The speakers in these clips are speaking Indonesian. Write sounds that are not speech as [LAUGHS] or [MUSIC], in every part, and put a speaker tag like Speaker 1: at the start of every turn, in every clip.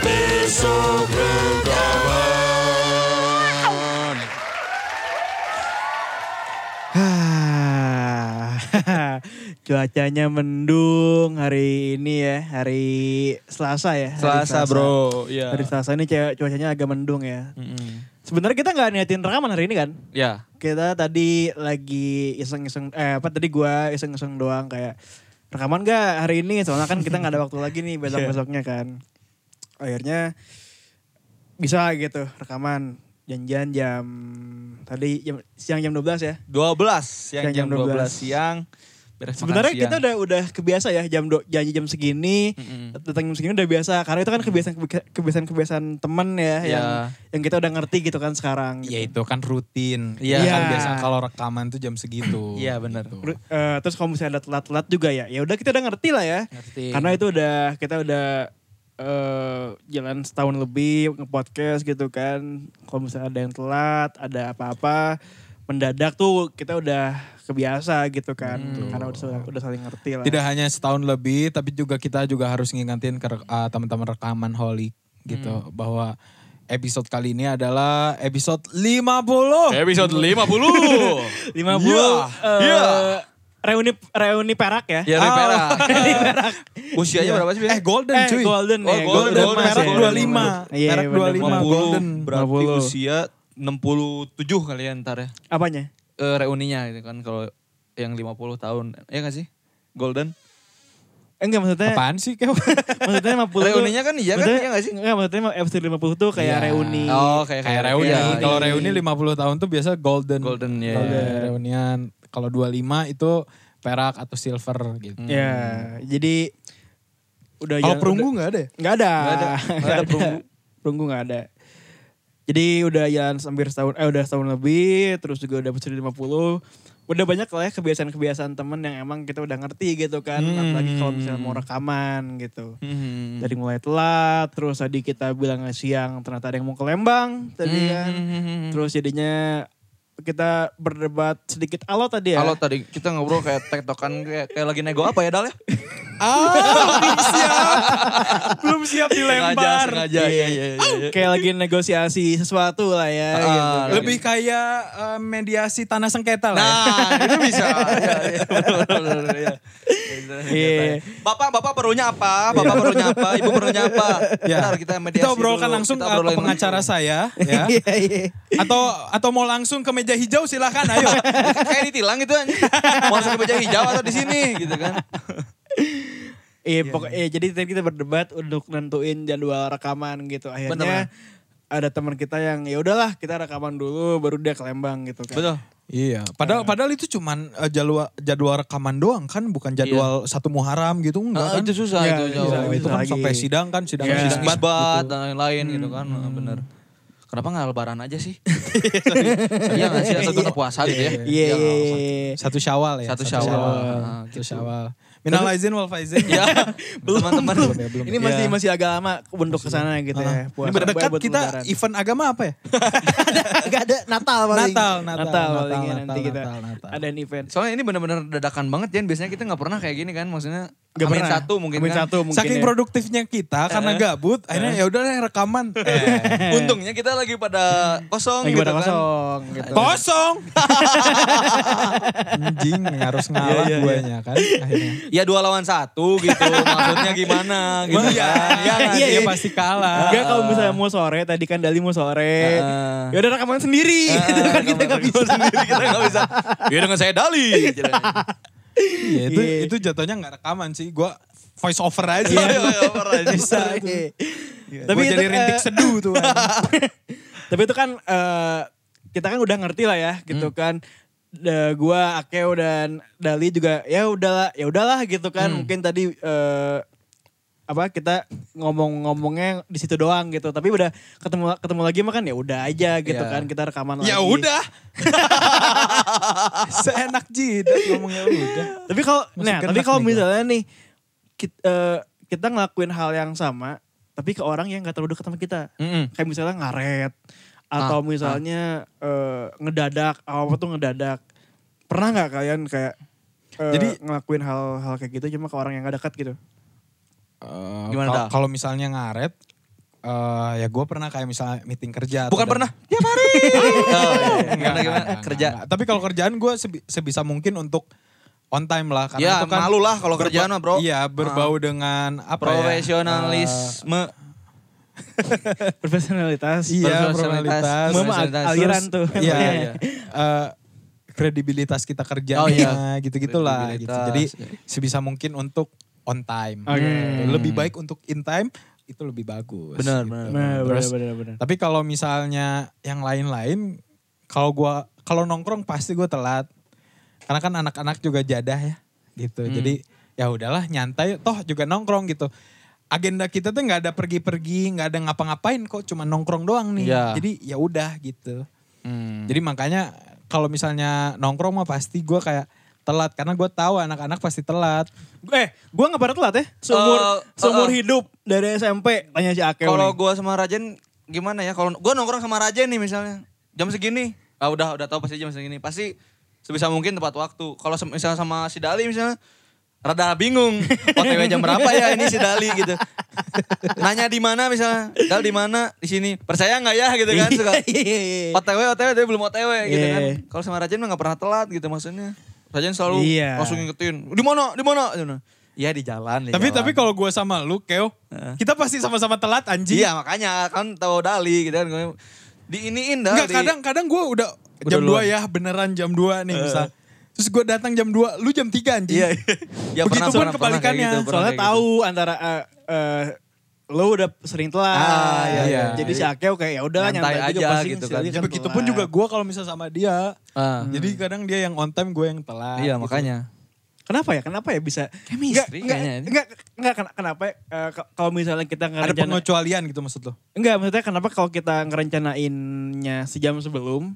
Speaker 1: Besok rekaman.
Speaker 2: Ah. [LAUGHS] Cuacanya mendung hari ini ya, hari Selasa ya. hari
Speaker 1: Selasa bro, ya.
Speaker 2: Hari Selasa ini cewek- cuacanya agak mendung ya. Sebenarnya kita nggak niatin rekaman hari ini kan?
Speaker 1: Ya,
Speaker 2: Kita tadi lagi iseng-iseng, eh apa tadi gua iseng-iseng doang kayak rekaman gak hari ini? Soalnya kan kita nggak ada waktu lagi nih besok-besoknya
Speaker 1: Iya.
Speaker 2: kan. Akhirnya bisa gitu rekaman janjian jam tadi jam, siang jam 12 ya.
Speaker 1: 12 siang jam 12 siang. Beres makan
Speaker 2: Sebenarnya
Speaker 1: siang.
Speaker 2: kita udah udah kebiasa ya jam do, janji jam segini,
Speaker 1: Mm-mm.
Speaker 2: datang jam segini udah biasa karena itu kan kebiasaan kebiasaan kebiasaan temen ya
Speaker 1: Ya.
Speaker 2: yang yang kita udah ngerti gitu kan sekarang.
Speaker 3: Ya itu kan rutin.
Speaker 1: Iya.
Speaker 3: Kan
Speaker 2: Iya.
Speaker 3: biasa kalau rekaman tuh jam segitu.
Speaker 1: Iya, benar.
Speaker 3: Gitu.
Speaker 2: Ru- eh, terus kalau misalnya ada telat-telat juga ya, ya udah kita udah ngerti lah ya.
Speaker 1: Ngerti.
Speaker 2: Karena itu udah kita udah eh, jalan setahun lebih nge-podcast gitu kan. Kalau misalnya ada yang telat, ada apa-apa mendadak tuh kita udah kebiasa gitu kan. Karena udah udah saling ngerti lah.
Speaker 3: Tidak hanya setahun lebih tapi juga kita juga harus ngingetin ke re- uh, teman-teman rekaman holic
Speaker 1: Hmm.
Speaker 3: gitu bahwa episode kali ini adalah episode 50.
Speaker 1: Episode 50.
Speaker 2: 50
Speaker 3: Iya,
Speaker 2: eh,
Speaker 1: iya.
Speaker 2: reuni reuni perak ya.
Speaker 1: ya,
Speaker 3: Ah.
Speaker 1: Ripera.
Speaker 2: [LAUGHS]
Speaker 1: Usianya berapa sih? Bi?
Speaker 3: Eh golden
Speaker 2: Eh,
Speaker 3: cuy.
Speaker 2: golden
Speaker 1: Oh,
Speaker 2: ya.
Speaker 1: golden, golden,
Speaker 3: merek
Speaker 1: golden.
Speaker 3: 25.
Speaker 2: Iya,
Speaker 3: merek
Speaker 2: bener,
Speaker 3: 25
Speaker 2: bener.
Speaker 3: golden.
Speaker 1: Berarti
Speaker 2: 50.
Speaker 1: usia 67 kali ya ntar ya.
Speaker 2: Apanya?
Speaker 1: Eh, reuninya gitu kan kalau yang 50 tahun. Ya gak sih? Golden.
Speaker 2: Eh, Enggak maksudnya.
Speaker 3: Apaan sih
Speaker 1: [LAUGHS]
Speaker 3: Kev?
Speaker 2: Maksudnya 50 tuh-
Speaker 1: Reuninya kan iya kan,
Speaker 2: maksudnya-
Speaker 1: iya nggak sih?
Speaker 2: Enggak maksudnya episode 50 tuh kayak
Speaker 3: Iya.
Speaker 2: reuni.
Speaker 1: Oh, kayak
Speaker 3: Kayak reuni.
Speaker 1: ya,
Speaker 3: Kalau
Speaker 1: iya.
Speaker 3: reuni 50 tahun tuh biasa golden.
Speaker 1: Golden, ya.
Speaker 3: Golden reunian. Kalau 25 itu perak atau silver gitu.
Speaker 1: Hmm.
Speaker 2: Ya, jadi udah
Speaker 3: Kalau
Speaker 1: Iya.
Speaker 2: jalan-
Speaker 3: perunggu
Speaker 2: udah-
Speaker 3: nggak ada? ya?
Speaker 2: nggak ada.
Speaker 1: Nggak
Speaker 2: [LAUGHS]
Speaker 1: ada. Nggak ada perunggu.
Speaker 2: Perunggu nggak ada. Jadi udah jalan hampir setahun, eh udah setahun lebih, terus juga udah episode 50. Udah banyak lah ya kebiasaan-kebiasaan temen yang emang kita udah ngerti gitu kan. Apalagi kalau misalnya mau rekaman gitu.
Speaker 1: Hmm.
Speaker 2: Dari mulai telat, terus tadi kita bilang siang ternyata ada yang mau ke Lembang tadi
Speaker 1: Hmm,
Speaker 2: kan.
Speaker 1: Mm-hmm.
Speaker 2: Terus jadinya kita berdebat sedikit alot tadi ya.
Speaker 1: Halo tadi kita ngobrol kayak tektokan kayak, kayak lagi nego apa ya Dal ya?
Speaker 2: Belum siap
Speaker 1: Sengaja, sengaja. Iya, iya, iya.
Speaker 2: Kayak lagi negosiasi sesuatu lah ya.
Speaker 1: Ah,
Speaker 2: gitu.
Speaker 1: Lagi-
Speaker 3: Lebih kayak eh, mediasi tanah sengketa lah. ya.
Speaker 1: Nah, itu bisa. [LAUGHS] Iya, iya. Betul, betul, betul, iya.
Speaker 2: Iya.
Speaker 1: Bapak, bapak perlunya apa? Bapak perlunya apa? Ibu perlunya apa?
Speaker 3: Ya.
Speaker 1: Ntar kita mediasi
Speaker 3: kita obrolkan
Speaker 1: dulu.
Speaker 3: langsung
Speaker 1: Kita
Speaker 3: ke
Speaker 1: obrolin
Speaker 3: pengacara
Speaker 1: langsung. [LAUGHS]
Speaker 3: saya [LAUGHS] ya.
Speaker 2: Iya, iya.
Speaker 3: atau atau mau langsung ke meja hijau silahkan ayo.
Speaker 1: Kayak ditilang gitu anjing. Masuk ke meja hijau atau di sini gitu kan.
Speaker 2: Iya, pokok- iya, jadi tadi kita berdebat untuk nentuin jadwal rekaman gitu. Akhirnya ada teman kita yang ya udahlah kita rekaman dulu baru dia ke Lembang gitu kan.
Speaker 1: Betul.
Speaker 3: [LAUGHS] iya, padahal padahal itu cuman eh, jadwal jadwal rekaman doang kan bukan jadwal satu Muharram gitu enggak
Speaker 1: Ah,
Speaker 3: kan.
Speaker 1: itu susah
Speaker 2: Iya,
Speaker 1: itu
Speaker 2: iya,
Speaker 1: jauh.
Speaker 2: susah.
Speaker 3: Itu, kan
Speaker 2: lagi.
Speaker 3: sampai sidang kan sidang
Speaker 2: Iya. Hmm.
Speaker 3: sidang isbat.
Speaker 1: isbat dan lain-lain gitu kan Nah, bener kenapa nggak lebaran aja
Speaker 2: [LAUGHS]
Speaker 1: sih iya nggak sih atau tutup puasa gitu ya
Speaker 2: Iya, iya,
Speaker 1: nggak
Speaker 2: iya.
Speaker 1: usah.
Speaker 3: Satu Syawal Iya. ya.
Speaker 1: Satu Syawal. Ah,
Speaker 3: Satu Syawal. Minal aizin wal faizin.
Speaker 1: ya teman-teman
Speaker 2: Ini masih masih agak lama untuk kesana gitu ya.
Speaker 3: Ah,
Speaker 2: puasa.
Speaker 3: ini berdekat
Speaker 2: Buat
Speaker 3: [LAUGHS] kita
Speaker 2: lebaran.
Speaker 3: event agama apa ya?
Speaker 2: Gak ada Natal paling.
Speaker 3: Natal, Natal,
Speaker 2: paling ya
Speaker 3: Natal,
Speaker 2: nanti kita
Speaker 3: Natal, Natal.
Speaker 2: ada event.
Speaker 1: soalnya ini benar-benar dadakan banget Jan biasanya kita nggak pernah kayak gini kan maksudnya
Speaker 2: Gak
Speaker 1: Amin
Speaker 2: pernah.
Speaker 1: satu mungkin
Speaker 2: Amin
Speaker 1: kan
Speaker 2: satu mungkin
Speaker 3: Saking
Speaker 2: ya.
Speaker 3: produktifnya kita karena gabut, akhirnya ya udah deh rekaman. Eh,
Speaker 1: untungnya kita lagi pada kosong
Speaker 2: Lagi
Speaker 1: gitu
Speaker 2: pada
Speaker 1: kan
Speaker 2: kosong gitu.
Speaker 3: Kosong. Anjing harus ngalah
Speaker 1: Iya, iya,
Speaker 3: guanya kan akhirnya.
Speaker 1: ya dua lawan satu
Speaker 2: [LAUGHS]
Speaker 1: gitu maksudnya gimana gitu
Speaker 3: Iya,
Speaker 1: kan
Speaker 3: iya,
Speaker 1: kan?
Speaker 3: iya,
Speaker 2: iya.
Speaker 3: pasti kalah.
Speaker 2: Enggak kalau misalnya mau sore, tadi kan Dali mau sore. [LAUGHS]
Speaker 1: Ah.
Speaker 2: ya udah rekaman sendiri. [LAUGHS] Gitu kan kita gak bisa.
Speaker 1: sendiri kita nggak bisa ya dengan saya Dali
Speaker 3: Iya, itu
Speaker 2: Iya.
Speaker 3: itu Iya. jatuhnya nggak rekaman sih. Gua voice over aja.
Speaker 1: ya, bisa
Speaker 2: Iya.
Speaker 3: Tapi
Speaker 2: itu,
Speaker 3: jadi
Speaker 2: eh,
Speaker 3: rintik seduh tuh. anjing.
Speaker 2: [LAUGHS] Tapi itu kan eh, kita kan udah ngerti lah ya gitu kan. Da, gua Akeo dan Dali juga ya udahlah ya udahlah gitu kan mungkin tadi eh, apa kita ngomong-ngomongnya di situ doang gitu tapi udah ketemu kan, ketemu lagi makan ya udah aja gitu
Speaker 1: Iya.
Speaker 2: kan kita rekaman lagi
Speaker 3: ya udah. [LAUGHS] Seenak jidat ngomongnya udah.
Speaker 2: Tapi kalau
Speaker 3: Masih
Speaker 2: nah,
Speaker 3: gerak
Speaker 2: tapi kalau
Speaker 3: nih gua.
Speaker 2: misalnya nih kita, kita ngelakuin hal yang sama tapi ke orang yang gak terlalu dekat sama kita. Kayak misalnya ngaret
Speaker 1: Ah,
Speaker 2: atau misalnya eh, ngedadak, apa tuh ngedadak. Pernah nggak kalian kayak jadi
Speaker 3: Jadi-
Speaker 2: ngelakuin hal-hal kayak gitu cuma ke orang yang gak dekat gitu? [LAUGHS]
Speaker 3: Eh,
Speaker 1: Gimana,
Speaker 3: kal-
Speaker 1: Dal?
Speaker 3: Kalau misalnya ngaret, eh ya gue pernah kayak misalnya meeting kerja. atau
Speaker 1: Bukan
Speaker 3: dan-
Speaker 1: pernah. Ya hari. Oh, iya.
Speaker 3: [LAUGHS] Enggak,
Speaker 1: Gimana
Speaker 3: enggak,
Speaker 1: gimana
Speaker 3: enggak,
Speaker 1: kerja.
Speaker 3: enggak. Tapi kalau kerjaan gue sebisa mungkin untuk on time lah. Karena
Speaker 1: Ya,
Speaker 3: itu kan
Speaker 1: malu lah kalau
Speaker 3: berba-
Speaker 1: kerjaan mah, Bro. Ah,
Speaker 3: Iya berbau dengan apa ya, eh,
Speaker 1: Profesionalisme.
Speaker 2: Profesionalitas.
Speaker 3: Iya,
Speaker 1: Profesionalitas.
Speaker 3: profesionalitas.
Speaker 2: Mama
Speaker 1: Mama
Speaker 2: al- aliran
Speaker 3: Terus,
Speaker 2: tuh.
Speaker 3: Iya.
Speaker 1: Iya,
Speaker 3: iya. Eh, kredibilitas kita kerja
Speaker 1: Oh, iya.
Speaker 3: gitu-gitulah gitu. Jadi
Speaker 1: Kredibilitas, iya.
Speaker 3: sebisa mungkin untuk on time.
Speaker 2: Oke.
Speaker 3: Hmm. Lebih baik untuk in time itu lebih bagus.
Speaker 1: Benar,
Speaker 3: gitu.
Speaker 1: benar.
Speaker 2: Nah,
Speaker 3: Terus,
Speaker 1: Eh,
Speaker 2: benar-benar.
Speaker 3: Tapi kalau misalnya yang lain-lain kalau gua kalau nongkrong pasti gue telat. Karena kan anak-anak juga jadah ya gitu.
Speaker 1: Hmm.
Speaker 3: Jadi ya udahlah nyantai toh juga nongkrong gitu. Agenda kita tuh nggak ada pergi-pergi, nggak ada ngapa-ngapain kok, cuma nongkrong doang nih.
Speaker 1: Iya.
Speaker 3: Jadi ya udah gitu.
Speaker 1: Hmm.
Speaker 3: Jadi makanya kalau misalnya nongkrong mah pasti gua kayak telat karena gue tahu anak-anak pasti telat.
Speaker 2: Eh, gue gak pernah telat ya. Seumur,
Speaker 1: Eh,
Speaker 2: seumur
Speaker 1: eh, eh.
Speaker 2: hidup dari SMP. Tanya si Akeo
Speaker 1: Kalau
Speaker 2: nih.
Speaker 1: gua sama Rajen gimana ya? Kalau gua nongkrong sama Rajen nih misalnya jam segini, ah udah udah tahu pasti jam segini. Pasti sebisa mungkin tepat waktu. Kalau sem- misalnya sama si Dali misalnya rada bingung OTW jam berapa ya ini si Dali gitu. Nanya di mana misalnya, Dal di mana? Di sini. Percaya nggak ya gitu kan
Speaker 2: [LAUGHS]
Speaker 1: suka. OTW OTW tapi belum OTW gitu kan.
Speaker 2: Iya.
Speaker 1: Kalau sama Rajen mah nggak pernah telat gitu maksudnya. Rajen selalu
Speaker 2: Iya.
Speaker 1: langsung ngingetin. Di mana? Di mana? Gitu. Iya di jalan. di
Speaker 3: tapi
Speaker 1: jalan.
Speaker 3: tapi kalau gua sama lu, Keo, kita pasti sama-sama telat anjing.
Speaker 1: Iya makanya kan tahu Dali gitu kan. Diiniin dah.
Speaker 3: Enggak
Speaker 1: di-
Speaker 3: kadang kadang gue udah,
Speaker 1: Udah
Speaker 3: jam 2
Speaker 1: duluan.
Speaker 3: ya beneran jam 2 nih misal. Terus gue datang jam 2, lu jam 3 anjing.
Speaker 1: Iya. iya.
Speaker 3: Begitu pun
Speaker 1: pernah, pernah
Speaker 3: kebalikannya,
Speaker 1: kayak gitu, pernah
Speaker 2: Soalnya
Speaker 1: kayak
Speaker 2: tahu antara eh, eh, lo udah sering telat. gitu.
Speaker 1: Ah, iya,
Speaker 3: iya.
Speaker 2: Jadi si Akeo kayak ya udah
Speaker 1: Nyantai
Speaker 2: nyantai,
Speaker 1: aja
Speaker 2: pasti
Speaker 1: gitu
Speaker 2: si
Speaker 1: kan.
Speaker 2: Ali
Speaker 3: Ya begitu
Speaker 2: telat.
Speaker 3: pun juga gua kalau misal sama dia.
Speaker 1: Ah.
Speaker 3: Jadi kadang dia yang on time, gue yang telat.
Speaker 1: gitu. Iya
Speaker 3: gitu.
Speaker 1: makanya.
Speaker 2: Kenapa ya? Kenapa ya bisa?
Speaker 1: Chemistry
Speaker 2: enggak,
Speaker 1: kayaknya.
Speaker 2: enggak, enggak, ken- kenapa ya, eh, k- kalau misalnya kita
Speaker 3: Ada
Speaker 2: ngerencanain
Speaker 3: pengecualian gitu maksud lo.
Speaker 2: Enggak, maksudnya kenapa kalau kita ngerencanainnya sejam sebelum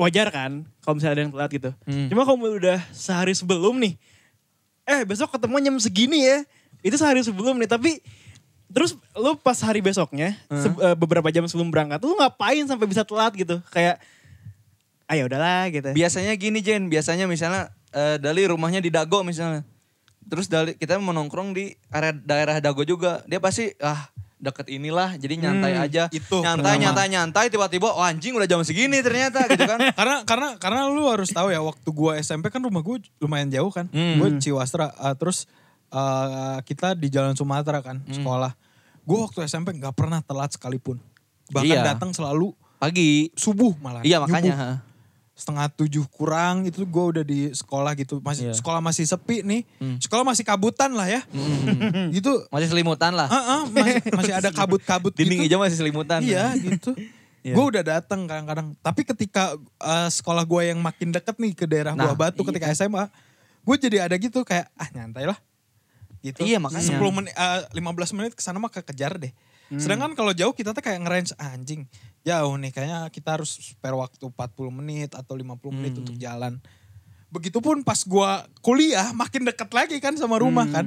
Speaker 2: wajar kan kalau misalnya ada yang telat gitu.
Speaker 1: Hmm.
Speaker 2: Cuma kalau udah sehari sebelum nih, eh besok ketemu jam segini ya, itu sehari sebelum nih. Tapi terus lu pas hari besoknya,
Speaker 1: Hmm.
Speaker 2: se- eh, beberapa jam sebelum berangkat, lu ngapain sampai bisa telat gitu? Kayak, ayo udahlah gitu.
Speaker 1: Biasanya gini Jen, biasanya misalnya eh, Dali rumahnya di Dago misalnya. Terus Dali kita mau nongkrong di area daerah Dago juga. Dia pasti ah deket inilah jadi nyantai aja.
Speaker 3: Hmm, itu
Speaker 1: nyantai,
Speaker 3: pertama.
Speaker 1: nyantai, nyantai tiba-tiba oh, anjing udah jam segini ternyata gitu kan.
Speaker 3: [LAUGHS] karena karena karena lu harus tahu ya waktu gua SMP kan rumah gua lumayan jauh kan.
Speaker 1: Hmm.
Speaker 3: Gua Ciwastra uh, terus uh, kita di Jalan Sumatera kan
Speaker 1: Hmm.
Speaker 3: sekolah. Gua waktu SMP nggak pernah telat sekalipun. Bahkan
Speaker 1: Iya.
Speaker 3: datang selalu
Speaker 1: Pagi.
Speaker 3: subuh malah.
Speaker 1: Iya makanya.
Speaker 3: Subuh.
Speaker 1: ha.
Speaker 3: setengah tujuh kurang itu gue udah di sekolah gitu
Speaker 1: Iya.
Speaker 3: masih sekolah masih sepi nih
Speaker 1: Hmm.
Speaker 3: sekolah masih kabutan lah ya gitu
Speaker 1: Masih selimutan lah.
Speaker 3: ah ah, masih, masih ada kabut-kabut
Speaker 1: Dinding
Speaker 3: gitu
Speaker 1: hijau masih selimutan. [LAUGHS]
Speaker 3: iya gitu gue udah datang kadang-kadang tapi ketika eh, sekolah gue yang makin deket nih ke daerah
Speaker 1: Nah,
Speaker 3: Buah Batu ketika SMA gue jadi ada gitu kayak ah nyantai lah gitu
Speaker 1: Iya, makanya. Hmm.
Speaker 3: 10 menit eh, 15 menit kesana mah kekejar deh sedangkan kalau jauh kita tuh kayak ngerange "Ah, anjing jauh nih kayaknya kita harus spare waktu 40 menit atau 50 menit
Speaker 1: Hmm.
Speaker 3: untuk jalan begitupun pas gue kuliah makin deket lagi kan sama rumah
Speaker 1: Hmm.
Speaker 3: kan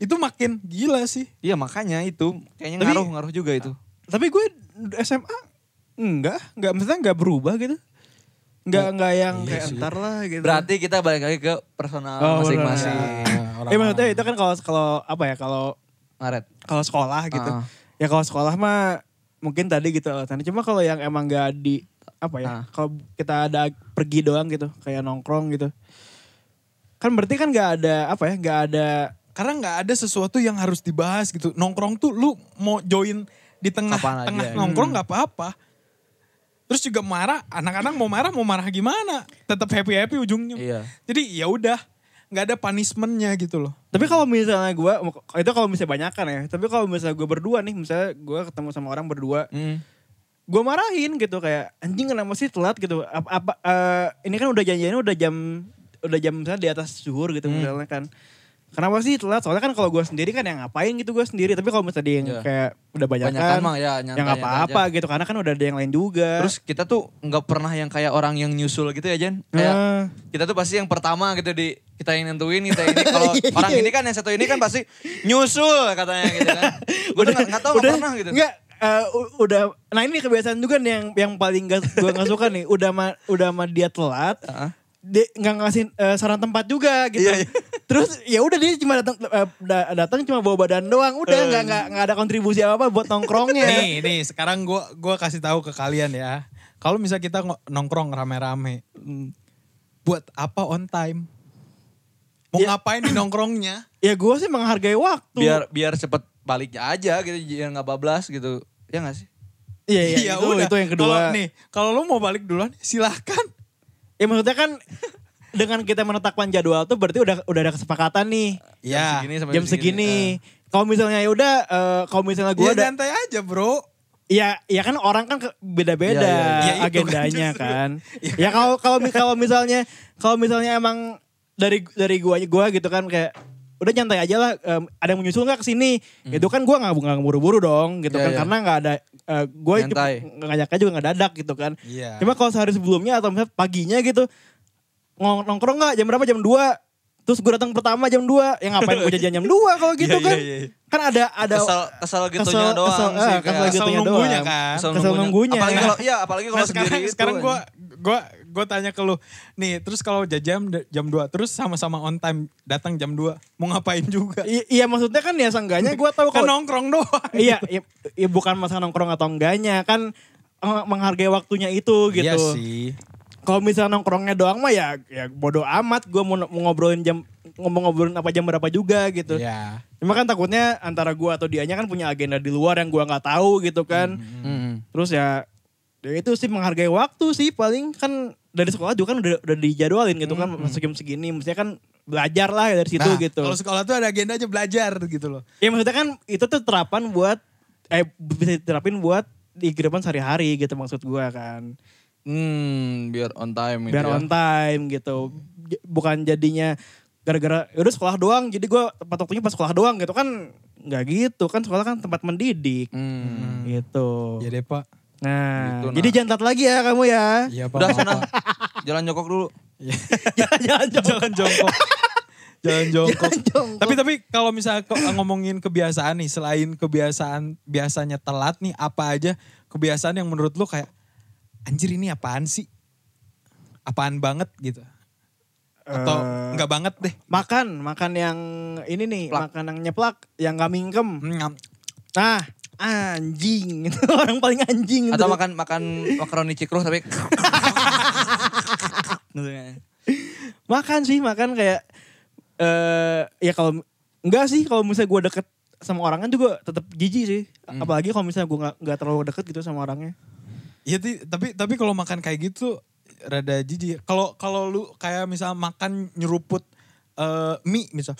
Speaker 3: itu makin gila sih
Speaker 1: Iya makanya itu kayaknya
Speaker 2: Tapi-
Speaker 1: ngaruh ngaruh juga itu.
Speaker 2: Tapi gue SMA enggak, enggak maksudnya enggak berubah gitu.
Speaker 1: Oh,
Speaker 2: Enggak, enggak yang
Speaker 1: iya
Speaker 2: kayak entar lah gitu.
Speaker 1: Berarti kita balik lagi ke personal
Speaker 2: Oh,
Speaker 1: masing-masing.
Speaker 3: Ya, orang-
Speaker 2: Eh maksudnya itu kan kalau kalau apa ya kalau
Speaker 1: Maret.
Speaker 2: kalau sekolah gitu.
Speaker 1: Ah.
Speaker 2: Ya kalau sekolah mah mungkin tadi gitu alasannya. Cuma kalau yang emang gak di apa ya?
Speaker 1: Ah.
Speaker 2: Kalau kita ada pergi doang gitu, kayak nongkrong gitu. Kan berarti kan gak ada apa ya? Gak ada
Speaker 3: karena nggak ada sesuatu yang harus dibahas gitu nongkrong tuh lu mau join di tengah
Speaker 1: Kapan aja,
Speaker 3: tengah
Speaker 1: ya.
Speaker 3: nongkrong nggak apa-apa terus juga marah anak-anak mau marah mau marah gimana tetap happy happy ujungnya
Speaker 1: Iya.
Speaker 3: jadi ya udah nggak ada punishmentnya gitu loh
Speaker 2: tapi kalau misalnya gue itu kalau misalnya banyakan ya. Tapi kalau misalnya gue berdua nih, misalnya gue ketemu sama orang berdua,
Speaker 1: Hmm.
Speaker 2: gue marahin gitu kayak anjing kenapa sih telat gitu apa, apa eh, ini kan udah janjiannya udah jam udah jam misalnya di atas zuhur gitu misalnya kan Kenapa sih telat? Soalnya kan kalau gue sendiri kan yang ngapain gitu gue sendiri. Tapi kalau misalnya dia yang
Speaker 1: Iya.
Speaker 2: kayak udah banyak
Speaker 1: Banyakan
Speaker 2: kan,
Speaker 1: mah, ya, nyantai-
Speaker 2: yang
Speaker 1: nyantai
Speaker 2: apa-apa gitu. Karena kan udah ada yang lain juga.
Speaker 1: Terus kita tuh nggak pernah yang kayak orang yang nyusul gitu ya Jen. Kayak
Speaker 2: Ah.
Speaker 1: kita tuh pasti yang pertama gitu di kita yang nentuin kita [LAUGHS] ini kalau orang ini kan yang satu ini kan pasti nyusul katanya gitu [LAUGHS] kan. Gue tuh nggak nggak tahu nggak pernah gitu.
Speaker 2: Enggak, eh, u- udah nah ini kebiasaan juga nih yang yang paling gak gue gak suka nih udah ma, udah ma dia telat
Speaker 1: Heeh.
Speaker 2: dia nggak ngasih eh, saran tempat juga gitu
Speaker 1: Iya, iya.
Speaker 2: terus ya udah dia cuma datang eh, da- datang cuma bawa badan doang udah
Speaker 1: Eh.
Speaker 2: nggak nggak nggak ada kontribusi apa apa buat nongkrongnya
Speaker 3: Nih, nih sekarang gua gua kasih tahu ke kalian ya. Kalau misalnya kita ngo- nongkrong rame-rame,
Speaker 2: Hmm.
Speaker 3: buat apa on time? Mau
Speaker 2: Iya.
Speaker 3: ngapain di nongkrongnya?
Speaker 2: ya gue sih menghargai waktu
Speaker 1: Biar biar cepet baliknya aja gitu biar nggak bablas gitu. Ya nggak sih?
Speaker 2: iya
Speaker 3: [LAUGHS]
Speaker 2: iya
Speaker 1: Ya
Speaker 2: itu, itu yang kedua
Speaker 3: Ya Kalau nih, kalau lu mau balik duluan silahkan.
Speaker 2: ya maksudnya kan dengan kita menetapkan jadwal tuh berarti udah udah ada kesepakatan nih
Speaker 1: Iya.
Speaker 3: Ya.
Speaker 1: segini Ah. Iya, sampai
Speaker 2: jam segini kalau misalnya ya udah eh, kalau misalnya gue
Speaker 3: Gua
Speaker 2: ada
Speaker 3: Iya, santai aja, Bro.
Speaker 2: Ya, ya kan orang kan ke- beda-beda
Speaker 1: Ya, ya,
Speaker 3: ya. Ya, itu kan
Speaker 2: agendanya
Speaker 3: justru.
Speaker 2: kan. Ya kalau kalau mi- kalau misalnya kalau misalnya emang dari dari gua gua gitu kan kayak udah nyantai aja lah em, ada yang menyusul nggak ke sini itu kan gua nggak nggak buru-buru dong gitu
Speaker 1: Ya,
Speaker 2: kan
Speaker 1: ya.
Speaker 2: karena nggak ada eh, gua gue
Speaker 1: Nyantai.
Speaker 2: ngajaknya juga nggak dadak gitu kan
Speaker 3: Iya.
Speaker 2: cuma kalau sehari sebelumnya atau misalnya paginya gitu ngong- nongkrong nggak jam berapa jam 2 terus gua datang pertama jam 2 ya ngapain gue jajan jam 2 kalau gitu
Speaker 3: Iya, iya,
Speaker 2: kan
Speaker 3: iya, iya.
Speaker 2: kan ada ada
Speaker 1: kesel kesel ah, gitunya doang
Speaker 2: kesel, eh,
Speaker 1: sih.
Speaker 2: kesel
Speaker 1: kayak.
Speaker 3: gitu.
Speaker 2: gitunya
Speaker 3: nunggunya
Speaker 2: doang.
Speaker 3: kan.
Speaker 2: Kesel, nunggunya.
Speaker 1: Apalagi kalau iya apalagi kalau
Speaker 3: Nah, sekarang
Speaker 1: sendiri eh.
Speaker 3: sekarang
Speaker 1: itu.
Speaker 3: gua gua gua tanya ke lu. Nih, terus kalau jam jam 2 terus sama-sama on time datang jam 2. Mau ngapain juga?
Speaker 2: I- iya maksudnya kan ya seenggaknya gue tahu
Speaker 3: Kan
Speaker 2: kalau
Speaker 3: nongkrong doang.
Speaker 2: iya, iya, iya, bukan masalah nongkrong atau enggaknya kan eh, menghargai waktunya itu gitu.
Speaker 3: Iya sih.
Speaker 2: Kalau misalnya nongkrongnya doang mah ya ya bodoh amat gue mau, mau ngobrolin jam ngomong ngobrolin apa jam berapa juga gitu.
Speaker 3: Iya.
Speaker 2: Cuma kan takutnya antara gue atau dianya kan punya agenda di luar yang gue nggak tahu gitu kan.
Speaker 3: Mm-hmm.
Speaker 1: Mm-mm.
Speaker 2: Terus ya, ya itu sih menghargai waktu sih paling kan dari sekolah juga kan udah udah dijadwalin gitu kan masuk jam segini mestinya kan belajar lah dari situ
Speaker 3: Nah,
Speaker 2: gitu.
Speaker 3: Kalau sekolah tuh ada agenda aja belajar gitu loh.
Speaker 2: Ya maksudnya kan itu tuh terapan buat eh bisa diterapin buat di kehidupan sehari-hari gitu maksud gua kan.
Speaker 1: Hmm, biar on time gitu
Speaker 2: Biar
Speaker 1: ya.
Speaker 2: on time gitu. J- Bukan jadinya gara-gara "Ya udah sekolah doang jadi gua tempat waktunya pas sekolah doang gitu kan nggak gitu kan sekolah kan tempat mendidik
Speaker 1: Hmm.
Speaker 2: gitu.
Speaker 3: Ya deh, Pak.
Speaker 2: Nah,
Speaker 1: Gitu, nah.
Speaker 2: jadi jangan telat lagi ya kamu ya.
Speaker 3: Iya, Pak.
Speaker 1: Udah
Speaker 3: maaf,
Speaker 1: sana.
Speaker 3: Pak.
Speaker 1: Jalan jokok dulu.
Speaker 2: [LAUGHS] Jangan
Speaker 3: [LAUGHS]
Speaker 1: [LAUGHS]
Speaker 2: jauh.
Speaker 3: Jalan jongkok. Jalan jongkok.
Speaker 2: Jalan jongkok.
Speaker 3: Tapi tapi kalau misalnya ke- ngomongin kebiasaan nih, selain kebiasaan biasanya telat nih, apa aja kebiasaan yang menurut lu kayak anjir ini apaan sih? Apaan banget gitu. Atau
Speaker 2: Eh,
Speaker 3: enggak banget deh.
Speaker 2: makan, makan yang ini nih,
Speaker 1: Plak.
Speaker 2: makan yang nyeplak, yang gak mingkem.
Speaker 3: Nyam.
Speaker 2: Nah, anjing. [LAUGHS] Itu orang paling anjing.
Speaker 1: Atau
Speaker 2: itu.
Speaker 1: makan makan makaroni cikru tapi Gitu ya.
Speaker 2: Makan sih, makan kayak eh ya kalau enggak sih kalau misalnya gue deket sama orang kan juga tetap jijik sih.
Speaker 3: Hmm.
Speaker 2: Apalagi kalau misalnya gue nggak nggak terlalu deket gitu sama orangnya.
Speaker 3: Iya, Ti, tapi tapi kalau makan kayak gitu rada jijik. Kalau kalau lu kayak misal makan nyeruput eh, mie misal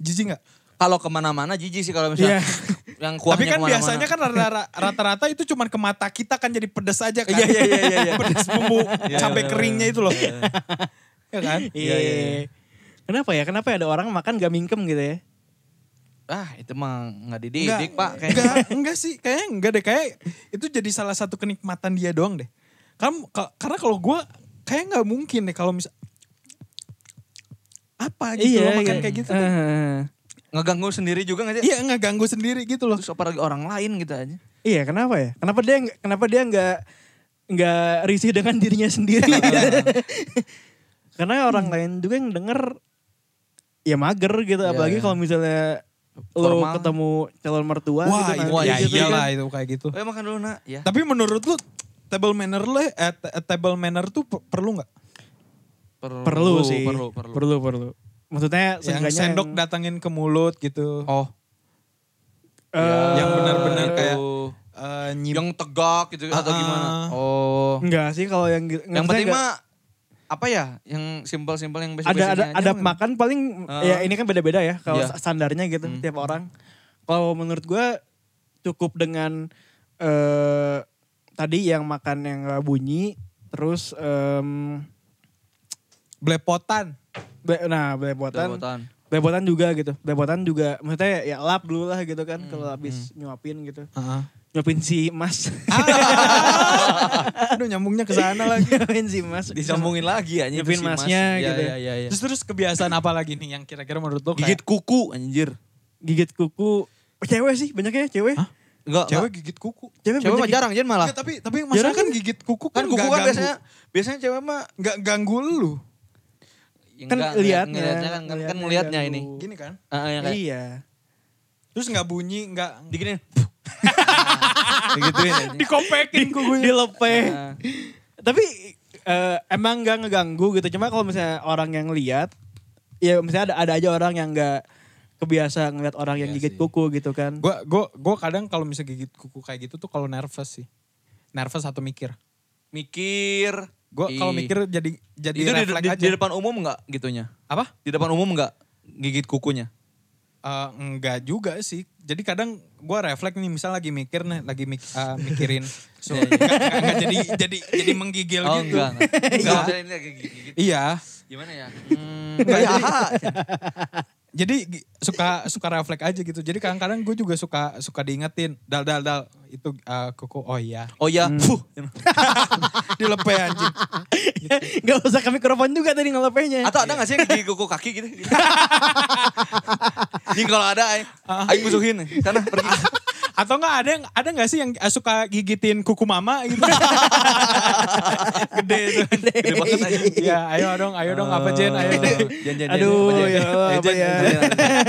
Speaker 3: jijik nggak?
Speaker 1: Kalau kemana-mana jijik sih kalau misalnya
Speaker 2: Iya.
Speaker 1: yang kuahnya
Speaker 3: Tapi kan
Speaker 1: kemana-mana.
Speaker 3: biasanya kan rara- rata-rata itu cuman ke mata kita kan jadi pedes aja kan.
Speaker 1: Iya, iya, iya, iya,
Speaker 3: [LAUGHS]
Speaker 1: iya.
Speaker 3: pedes bumbu cabai
Speaker 1: bener,
Speaker 3: keringnya itu loh. ya kan?
Speaker 1: Iya, iya, iya.
Speaker 2: Kenapa ya? Kenapa ada orang makan gak mingkem gitu ya?
Speaker 1: ah itu mah nggak dididik pak kayaknya.
Speaker 3: Enggak, enggak sih. Kayaknya enggak deh. Kayak itu jadi salah satu kenikmatan dia doang deh. Kamu, ka- karena kalau gue kayak nggak mungkin deh kalau misal apa gitu loh makan kayak gitu. tuh.
Speaker 2: Iya, Eh,
Speaker 1: Ngeganggu sendiri juga nggak sih?
Speaker 3: Iya nggak ganggu sendiri gitu loh.
Speaker 1: Terus apalagi orang lain gitu aja.
Speaker 2: iya, kenapa ya? Kenapa dia nggak- kenapa dia nggak nggak risih dengan [LAUGHS] dirinya
Speaker 1: [LAUGHS]
Speaker 2: sendiri? Karena orang lain juga yang denger ya mager gitu
Speaker 1: Iya,
Speaker 2: apalagi
Speaker 1: iya.
Speaker 2: kalau misalnya lo
Speaker 1: Formal.
Speaker 2: ketemu calon mertua
Speaker 3: Wah,
Speaker 2: gitu
Speaker 3: itu,
Speaker 1: nanti
Speaker 3: ya
Speaker 1: gitu
Speaker 3: iyalah itu kayak gitu.
Speaker 1: Eh makan dulu nak. Ya.
Speaker 3: Tapi menurut lu table manner lu eh, t- table manner tuh per- perlu nggak?
Speaker 1: Perlu,
Speaker 2: perlu sih
Speaker 1: Perlu, perlu.
Speaker 2: perlu perlu. maksudnya
Speaker 3: Yang
Speaker 2: seenggaknya
Speaker 3: sendok
Speaker 2: yang-
Speaker 3: datangin ke mulut gitu.
Speaker 1: Oh.
Speaker 2: Eh,
Speaker 3: Yang benar-benar kayak
Speaker 1: Oh.
Speaker 3: eh, nyim-
Speaker 1: yang tegak gitu atau
Speaker 3: Ah, ah.
Speaker 1: gimana? Oh.
Speaker 2: enggak sih kalau yang
Speaker 1: Yang penting mah apa ya? Yang simpel-simpel yang basic
Speaker 2: ada ada ada makan paling
Speaker 1: Ah.
Speaker 2: ya ini kan beda-beda ya kalau
Speaker 1: Iya.
Speaker 2: standarnya gitu tiap orang. Kalau menurut gua cukup dengan eh tadi yang makan yang nggak bunyi terus em,
Speaker 3: belepotan.
Speaker 2: be- nah belepotan
Speaker 1: Belepotan.
Speaker 2: Bebotan juga gitu. Bebotan juga maksudnya ya lap dulu lah gitu
Speaker 1: Hmm,
Speaker 2: kan kalau habis nyuapin gitu.
Speaker 3: Heeh.
Speaker 2: Nyuapin si Mas.
Speaker 1: Ah,
Speaker 3: Aduh nyambungnya ke sana [LAUGHS] lagi.
Speaker 2: [LAUGHS] nyuapin si Mas.
Speaker 1: Disambungin lagi anjing.
Speaker 2: Nyepin
Speaker 1: itu si mas.
Speaker 2: masnya
Speaker 1: Iya,
Speaker 2: gitu.
Speaker 1: Iya, iya, iya.
Speaker 3: Terus terus kebiasaan apa lagi nih yang kira-kira menurut lo kayak
Speaker 1: Gigit kuku anjir.
Speaker 2: Gigit kuku. Oh, Cewek sih banyaknya cewek.
Speaker 3: Hah?
Speaker 1: Enggak,
Speaker 3: cewek gigit kuku?
Speaker 2: Cewek,
Speaker 1: cewek mah
Speaker 2: banyak.
Speaker 1: jarang Jen malah.
Speaker 3: Enggak, tapi tapi masalah
Speaker 2: Jarang
Speaker 3: kan
Speaker 2: kan?
Speaker 3: gigit kuku
Speaker 1: Kan
Speaker 3: kan
Speaker 1: kuku
Speaker 3: nggak
Speaker 1: kan
Speaker 3: ganggu.
Speaker 1: biasanya biasanya cewek mah
Speaker 3: nggak ganggu lu.
Speaker 1: Ya,
Speaker 2: Kan
Speaker 1: enggak,
Speaker 2: liatnya,
Speaker 1: ngeliatnya kan kan, kan
Speaker 2: ngeliatnya
Speaker 1: ngeliatnya
Speaker 2: ganggu.
Speaker 1: ini.
Speaker 3: Gini kan.
Speaker 1: Heeh, ya, kayak
Speaker 2: Iya.
Speaker 3: Terus nggak bunyi, nggak
Speaker 1: diginiin. [LAUGHS] Digituin anjing.
Speaker 2: Dikopekin kukunya. [LAUGHS] Dilepeh.
Speaker 1: Nah,
Speaker 2: Tapi eh, emang gak ngeganggu gitu. Cuma kalau misalnya orang yang lihat, ya misalnya ada ada aja orang yang gak kebiasa ngeliat orang yang
Speaker 1: Iya
Speaker 2: gigit
Speaker 1: sih.
Speaker 2: kuku gitu kan. [LAUGHS]
Speaker 3: Gua gua gua kadang kalau misalnya gigit kuku kayak gitu tuh kalau nervous sih. Nervous atau mikir.
Speaker 1: mikir.
Speaker 3: Gua kalau
Speaker 1: Ih.
Speaker 3: mikir jadi jadi
Speaker 1: itu di,
Speaker 3: refleks
Speaker 1: di-
Speaker 3: aja.
Speaker 1: di depan umum enggak gitunya?
Speaker 3: apa?
Speaker 1: Di depan umum enggak gigit kukunya?
Speaker 3: Eh, enggak juga sih. Jadi kadang gua refleks nih misal lagi mikir nih, lagi mik- eh, mikirin. [LAUGHS] So, enggak, enggak- enggak jadi jadi jadi menggigil
Speaker 1: oh,
Speaker 3: gitu.
Speaker 1: enggak. [LAUGHS] Enggak,
Speaker 3: Iya.
Speaker 1: enggak. maksudnya ini lagi gigit.
Speaker 3: Iya.
Speaker 1: Gimana ya? Hmm,
Speaker 3: Enggak,
Speaker 1: ya,
Speaker 3: jadi-
Speaker 1: ah.
Speaker 3: Jadi gi- suka suka refleks aja gitu. Jadi kadang-kadang gue juga suka suka diingetin. Dal dal dal itu eh, kuku. Oh iya.
Speaker 1: [LAUGHS] Oh ya, fuh.
Speaker 3: Dilepe anjing.
Speaker 2: gak usah ke mikrofon juga tadi ngelepehnya.
Speaker 1: Atau ada gak sih yang gigit kuku kaki gitu? [LAUGHS] Ini kalau ada, aing- aing musuhin. Sana pergi. [LAUGHS]
Speaker 3: Atau enggak ada yang ada enggak sih yang eh, suka gigitin kuku mama gitu. [LAUGHS] Gede Eh, itu.
Speaker 1: Gede banget aja.
Speaker 3: Iya, ayo dong, ayo dong apa Jen, ayo dong.
Speaker 1: Jangan-jangan.
Speaker 2: Aduh, ya Allah, apa ya.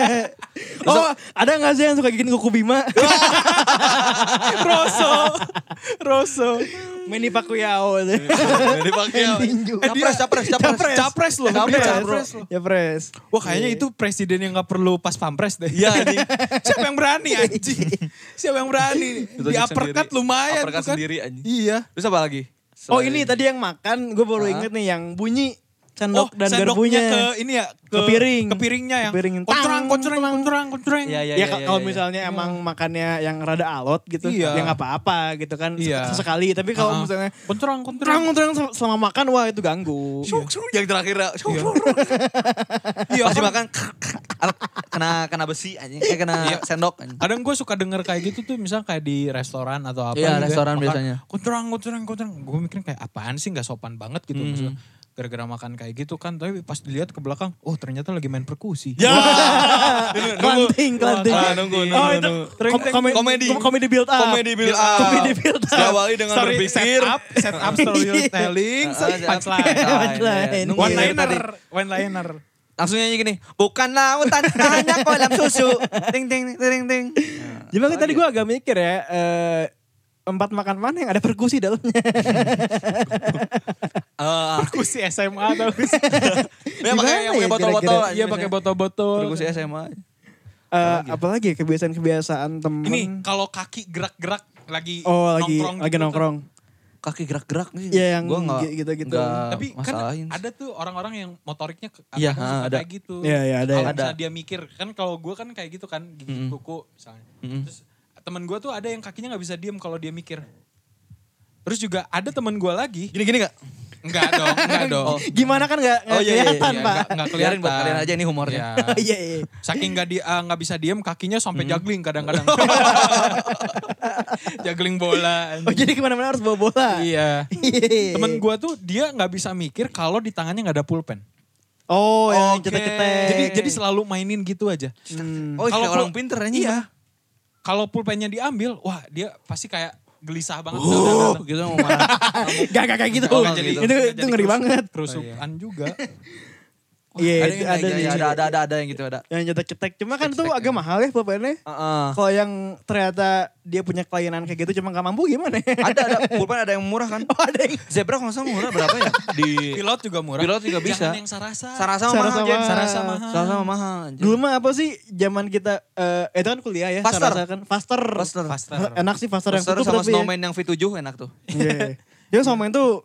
Speaker 2: [LAUGHS] Oh, ada gak sih yang suka gigit kuku
Speaker 1: [LAUGHS]
Speaker 2: Bima? [LAUGHS]
Speaker 3: Rosso. Rosso.
Speaker 2: Mini [LAUGHS] Pacquiao.
Speaker 1: Jadi pakai Capres, capres, capres.
Speaker 3: Capres loh.
Speaker 1: Capres,
Speaker 3: Iya,
Speaker 1: bro.
Speaker 3: capres loh.
Speaker 2: ya pres.
Speaker 3: Wah kayaknya itu presiden yang gak perlu pas pampres deh. [LAUGHS]
Speaker 1: Iya, anjing.
Speaker 3: Siapa yang berani anjing? Siapa yang berani?
Speaker 1: Itu
Speaker 3: Di
Speaker 1: anjing
Speaker 3: uppercut
Speaker 1: sendiri.
Speaker 3: lumayan
Speaker 1: Uppercut
Speaker 3: tuh kan.
Speaker 1: sendiri, anjing.
Speaker 3: Iya.
Speaker 1: Terus apa lagi?
Speaker 2: Oh
Speaker 1: Selain-
Speaker 2: ini tadi yang makan, gue baru
Speaker 1: Ah.
Speaker 2: inget nih yang bunyi
Speaker 1: Oh,
Speaker 2: sendok dan
Speaker 3: sendoknya
Speaker 2: garpunya.
Speaker 3: ke ini ya
Speaker 2: Ke piring.
Speaker 3: ke piringnya yang
Speaker 2: Ke piring.
Speaker 3: kontrang
Speaker 2: Tang,
Speaker 3: kontrang
Speaker 2: tang.
Speaker 3: kontrang kontrang
Speaker 1: Iya,
Speaker 2: Ya,
Speaker 1: iya, iya.
Speaker 2: ka-
Speaker 1: iya,
Speaker 2: kalau
Speaker 1: iya.
Speaker 2: misalnya emang makannya yang rada alot gitu,
Speaker 3: Iya.
Speaker 2: yang apa-apa gitu kan sek-
Speaker 3: Iya.
Speaker 2: sesekali. Tapi kalau
Speaker 3: Ah, ah.
Speaker 2: misalnya
Speaker 3: kontrang kontrang
Speaker 2: terang-terang sel- selama makan, wah itu ganggu.
Speaker 1: Syuk, syuk, yang terakhir. ya. Syuk,
Speaker 3: Iya.
Speaker 1: syuk,
Speaker 3: iya
Speaker 1: Pasti
Speaker 3: kan.
Speaker 1: makan kena kena besi anjing, eh, kena
Speaker 3: Iya.
Speaker 1: sendok anjing.
Speaker 3: kadang gue suka denger kayak gitu tuh misalnya kayak di restoran atau apa
Speaker 1: Iya,
Speaker 3: gitu ya.
Speaker 1: restoran
Speaker 3: Makan,
Speaker 1: biasanya.
Speaker 3: kontrang kontrang kontrang gue mikirin kayak apaan sih nggak sopan banget gitu
Speaker 1: Mhm.
Speaker 3: maksudnya gara-gara makan kayak gitu kan tapi pas dilihat ke belakang oh ternyata lagi main perkusi
Speaker 1: Ya.
Speaker 2: Kelanting, kelanting.
Speaker 1: Ah, nunggu, nunggu,
Speaker 2: Oh itu
Speaker 1: nunggu.
Speaker 2: kom- kome-
Speaker 1: Komedi.
Speaker 2: kom- komedi build up.
Speaker 1: Komedi build up.
Speaker 2: Komedi build up.
Speaker 1: Diawali dengan
Speaker 3: Story
Speaker 1: berpikir.
Speaker 3: set up set up [LAUGHS]
Speaker 1: Ah,
Speaker 3: storytelling set
Speaker 1: set up.
Speaker 3: punchline
Speaker 2: Punchline.
Speaker 1: Nunggu
Speaker 3: one
Speaker 1: dari
Speaker 3: liner
Speaker 1: tadi.
Speaker 3: one liner
Speaker 1: Langsung nyanyi gini, bukan lautan, [LAUGHS] hanya kolam susu. Ting ting ting ting.
Speaker 2: Jadi makanya tadi gue agak mikir ya, eh, empat makan mana yang ada perkusi dalamnya.
Speaker 1: Eh,
Speaker 3: perkusi [LAUGHS] SMA
Speaker 1: ya
Speaker 3: atau
Speaker 1: pakai
Speaker 2: Gimana
Speaker 1: yang pakai
Speaker 2: ya kira-kira?
Speaker 1: botol-botol. anjing
Speaker 3: Iya pakai
Speaker 1: biasanya.
Speaker 3: botol-botol.
Speaker 1: Perkusi SMA.
Speaker 2: Eh, apalagi ya, kebiasaan-kebiasaan temen.
Speaker 3: Ini kalau kaki gerak-gerak lagi
Speaker 2: Hmm. oh lagi
Speaker 3: nongkrong.
Speaker 2: lagi
Speaker 3: gitu.
Speaker 2: nongkrong.
Speaker 1: Kaki gerak-gerak nih.
Speaker 2: Iya, yang
Speaker 1: Gua nggak-
Speaker 2: gitu-gitu.
Speaker 1: nggak
Speaker 3: Tapi kan
Speaker 1: masalahin.
Speaker 3: ada tuh orang-orang yang motoriknya ke-
Speaker 1: Iya,
Speaker 3: kan
Speaker 1: ah,
Speaker 3: suka
Speaker 1: ada.
Speaker 3: kayak gitu.
Speaker 2: Iya, iya, ada,
Speaker 3: Kalau
Speaker 1: ada.
Speaker 3: misalnya dia mikir, kan kalau gue kan kayak gitu kan, gigit
Speaker 1: Mm-mm.
Speaker 3: kuku misalnya.
Speaker 1: Mm-mm.
Speaker 3: Terus teman gue tuh ada yang kakinya nggak bisa diem kalau dia mikir. Terus juga ada teman gue lagi.
Speaker 1: Gini-gini gak?
Speaker 3: Enggak dong, enggak dong.
Speaker 2: Gimana kan gak,
Speaker 1: Oh, iya, iya,
Speaker 2: kelihatan pak.
Speaker 1: iya,
Speaker 3: Enggak, enggak kelihatan.
Speaker 1: Biarin buat kalian aja ini humornya.
Speaker 3: [LAUGHS] Iya.
Speaker 2: Iya iya.
Speaker 3: Saking gak di ah, nggak bisa diem kakinya sampai juggling kadang-kadang. juggling bola.
Speaker 2: Oh jadi kemana-mana harus bawa bola.
Speaker 3: Iya.
Speaker 2: Iya.
Speaker 3: Temen gua tuh dia nggak bisa mikir kalau di tangannya nggak ada pulpen.
Speaker 2: Oh yang
Speaker 1: Oke.
Speaker 2: cetek-cetek.
Speaker 3: Jadi jadi selalu mainin gitu aja.
Speaker 2: Hmm.
Speaker 1: Oh, kalau
Speaker 3: Kalau
Speaker 1: orang
Speaker 3: gua-
Speaker 1: pinter anjing.
Speaker 3: [LAUGHS] Iya. Kalau pulpennya diambil, wah dia pasti kayak gelisah banget.
Speaker 1: Oh, gitu mau marah.
Speaker 2: Gak, gak kayak gitu.
Speaker 1: Oh,
Speaker 3: nggak jadi-
Speaker 2: itu, itu,
Speaker 3: nggak jadi
Speaker 2: ngeri
Speaker 3: kerus-
Speaker 2: banget.
Speaker 3: Kerusukan juga.
Speaker 2: Iya,
Speaker 1: Ada
Speaker 2: itu
Speaker 1: yang
Speaker 2: ada,
Speaker 1: kayak-
Speaker 2: nih.
Speaker 1: ada ada ada ada yang gitu ada.
Speaker 2: Yang cetek-cetek. Cuma kan itu agak mahal ya pulpennya.
Speaker 1: Heeh.
Speaker 2: Kalau yang ternyata dia punya kelainan kayak gitu cuma gak mampu gimana ya?
Speaker 1: Ada ada pulpen ada yang murah kan?
Speaker 2: [LAUGHS] Oh ada yang
Speaker 1: Zebra kalau nggak salah murah berapa ya? Di
Speaker 3: Pilot juga murah.
Speaker 1: Pilot juga bisa.
Speaker 3: Jangan yang sarasa.
Speaker 1: Sarasa
Speaker 2: Sarasa
Speaker 1: mahal Jen.
Speaker 2: mahal.
Speaker 1: Sarasa mahal. Sarasa mahal. anjing.
Speaker 2: Dulu mah apa sih zaman kita, eh itu kan kuliah ya.
Speaker 1: Faster.
Speaker 2: saya rasakan. Faster.
Speaker 1: Faster.
Speaker 3: Faster.
Speaker 2: [LAUGHS] Enak sih faster, yang tutup
Speaker 1: Terus sama
Speaker 2: tapi ya.
Speaker 1: snowman yang V7 enak tuh.
Speaker 2: [LAUGHS] Iya. Dia snowman tuh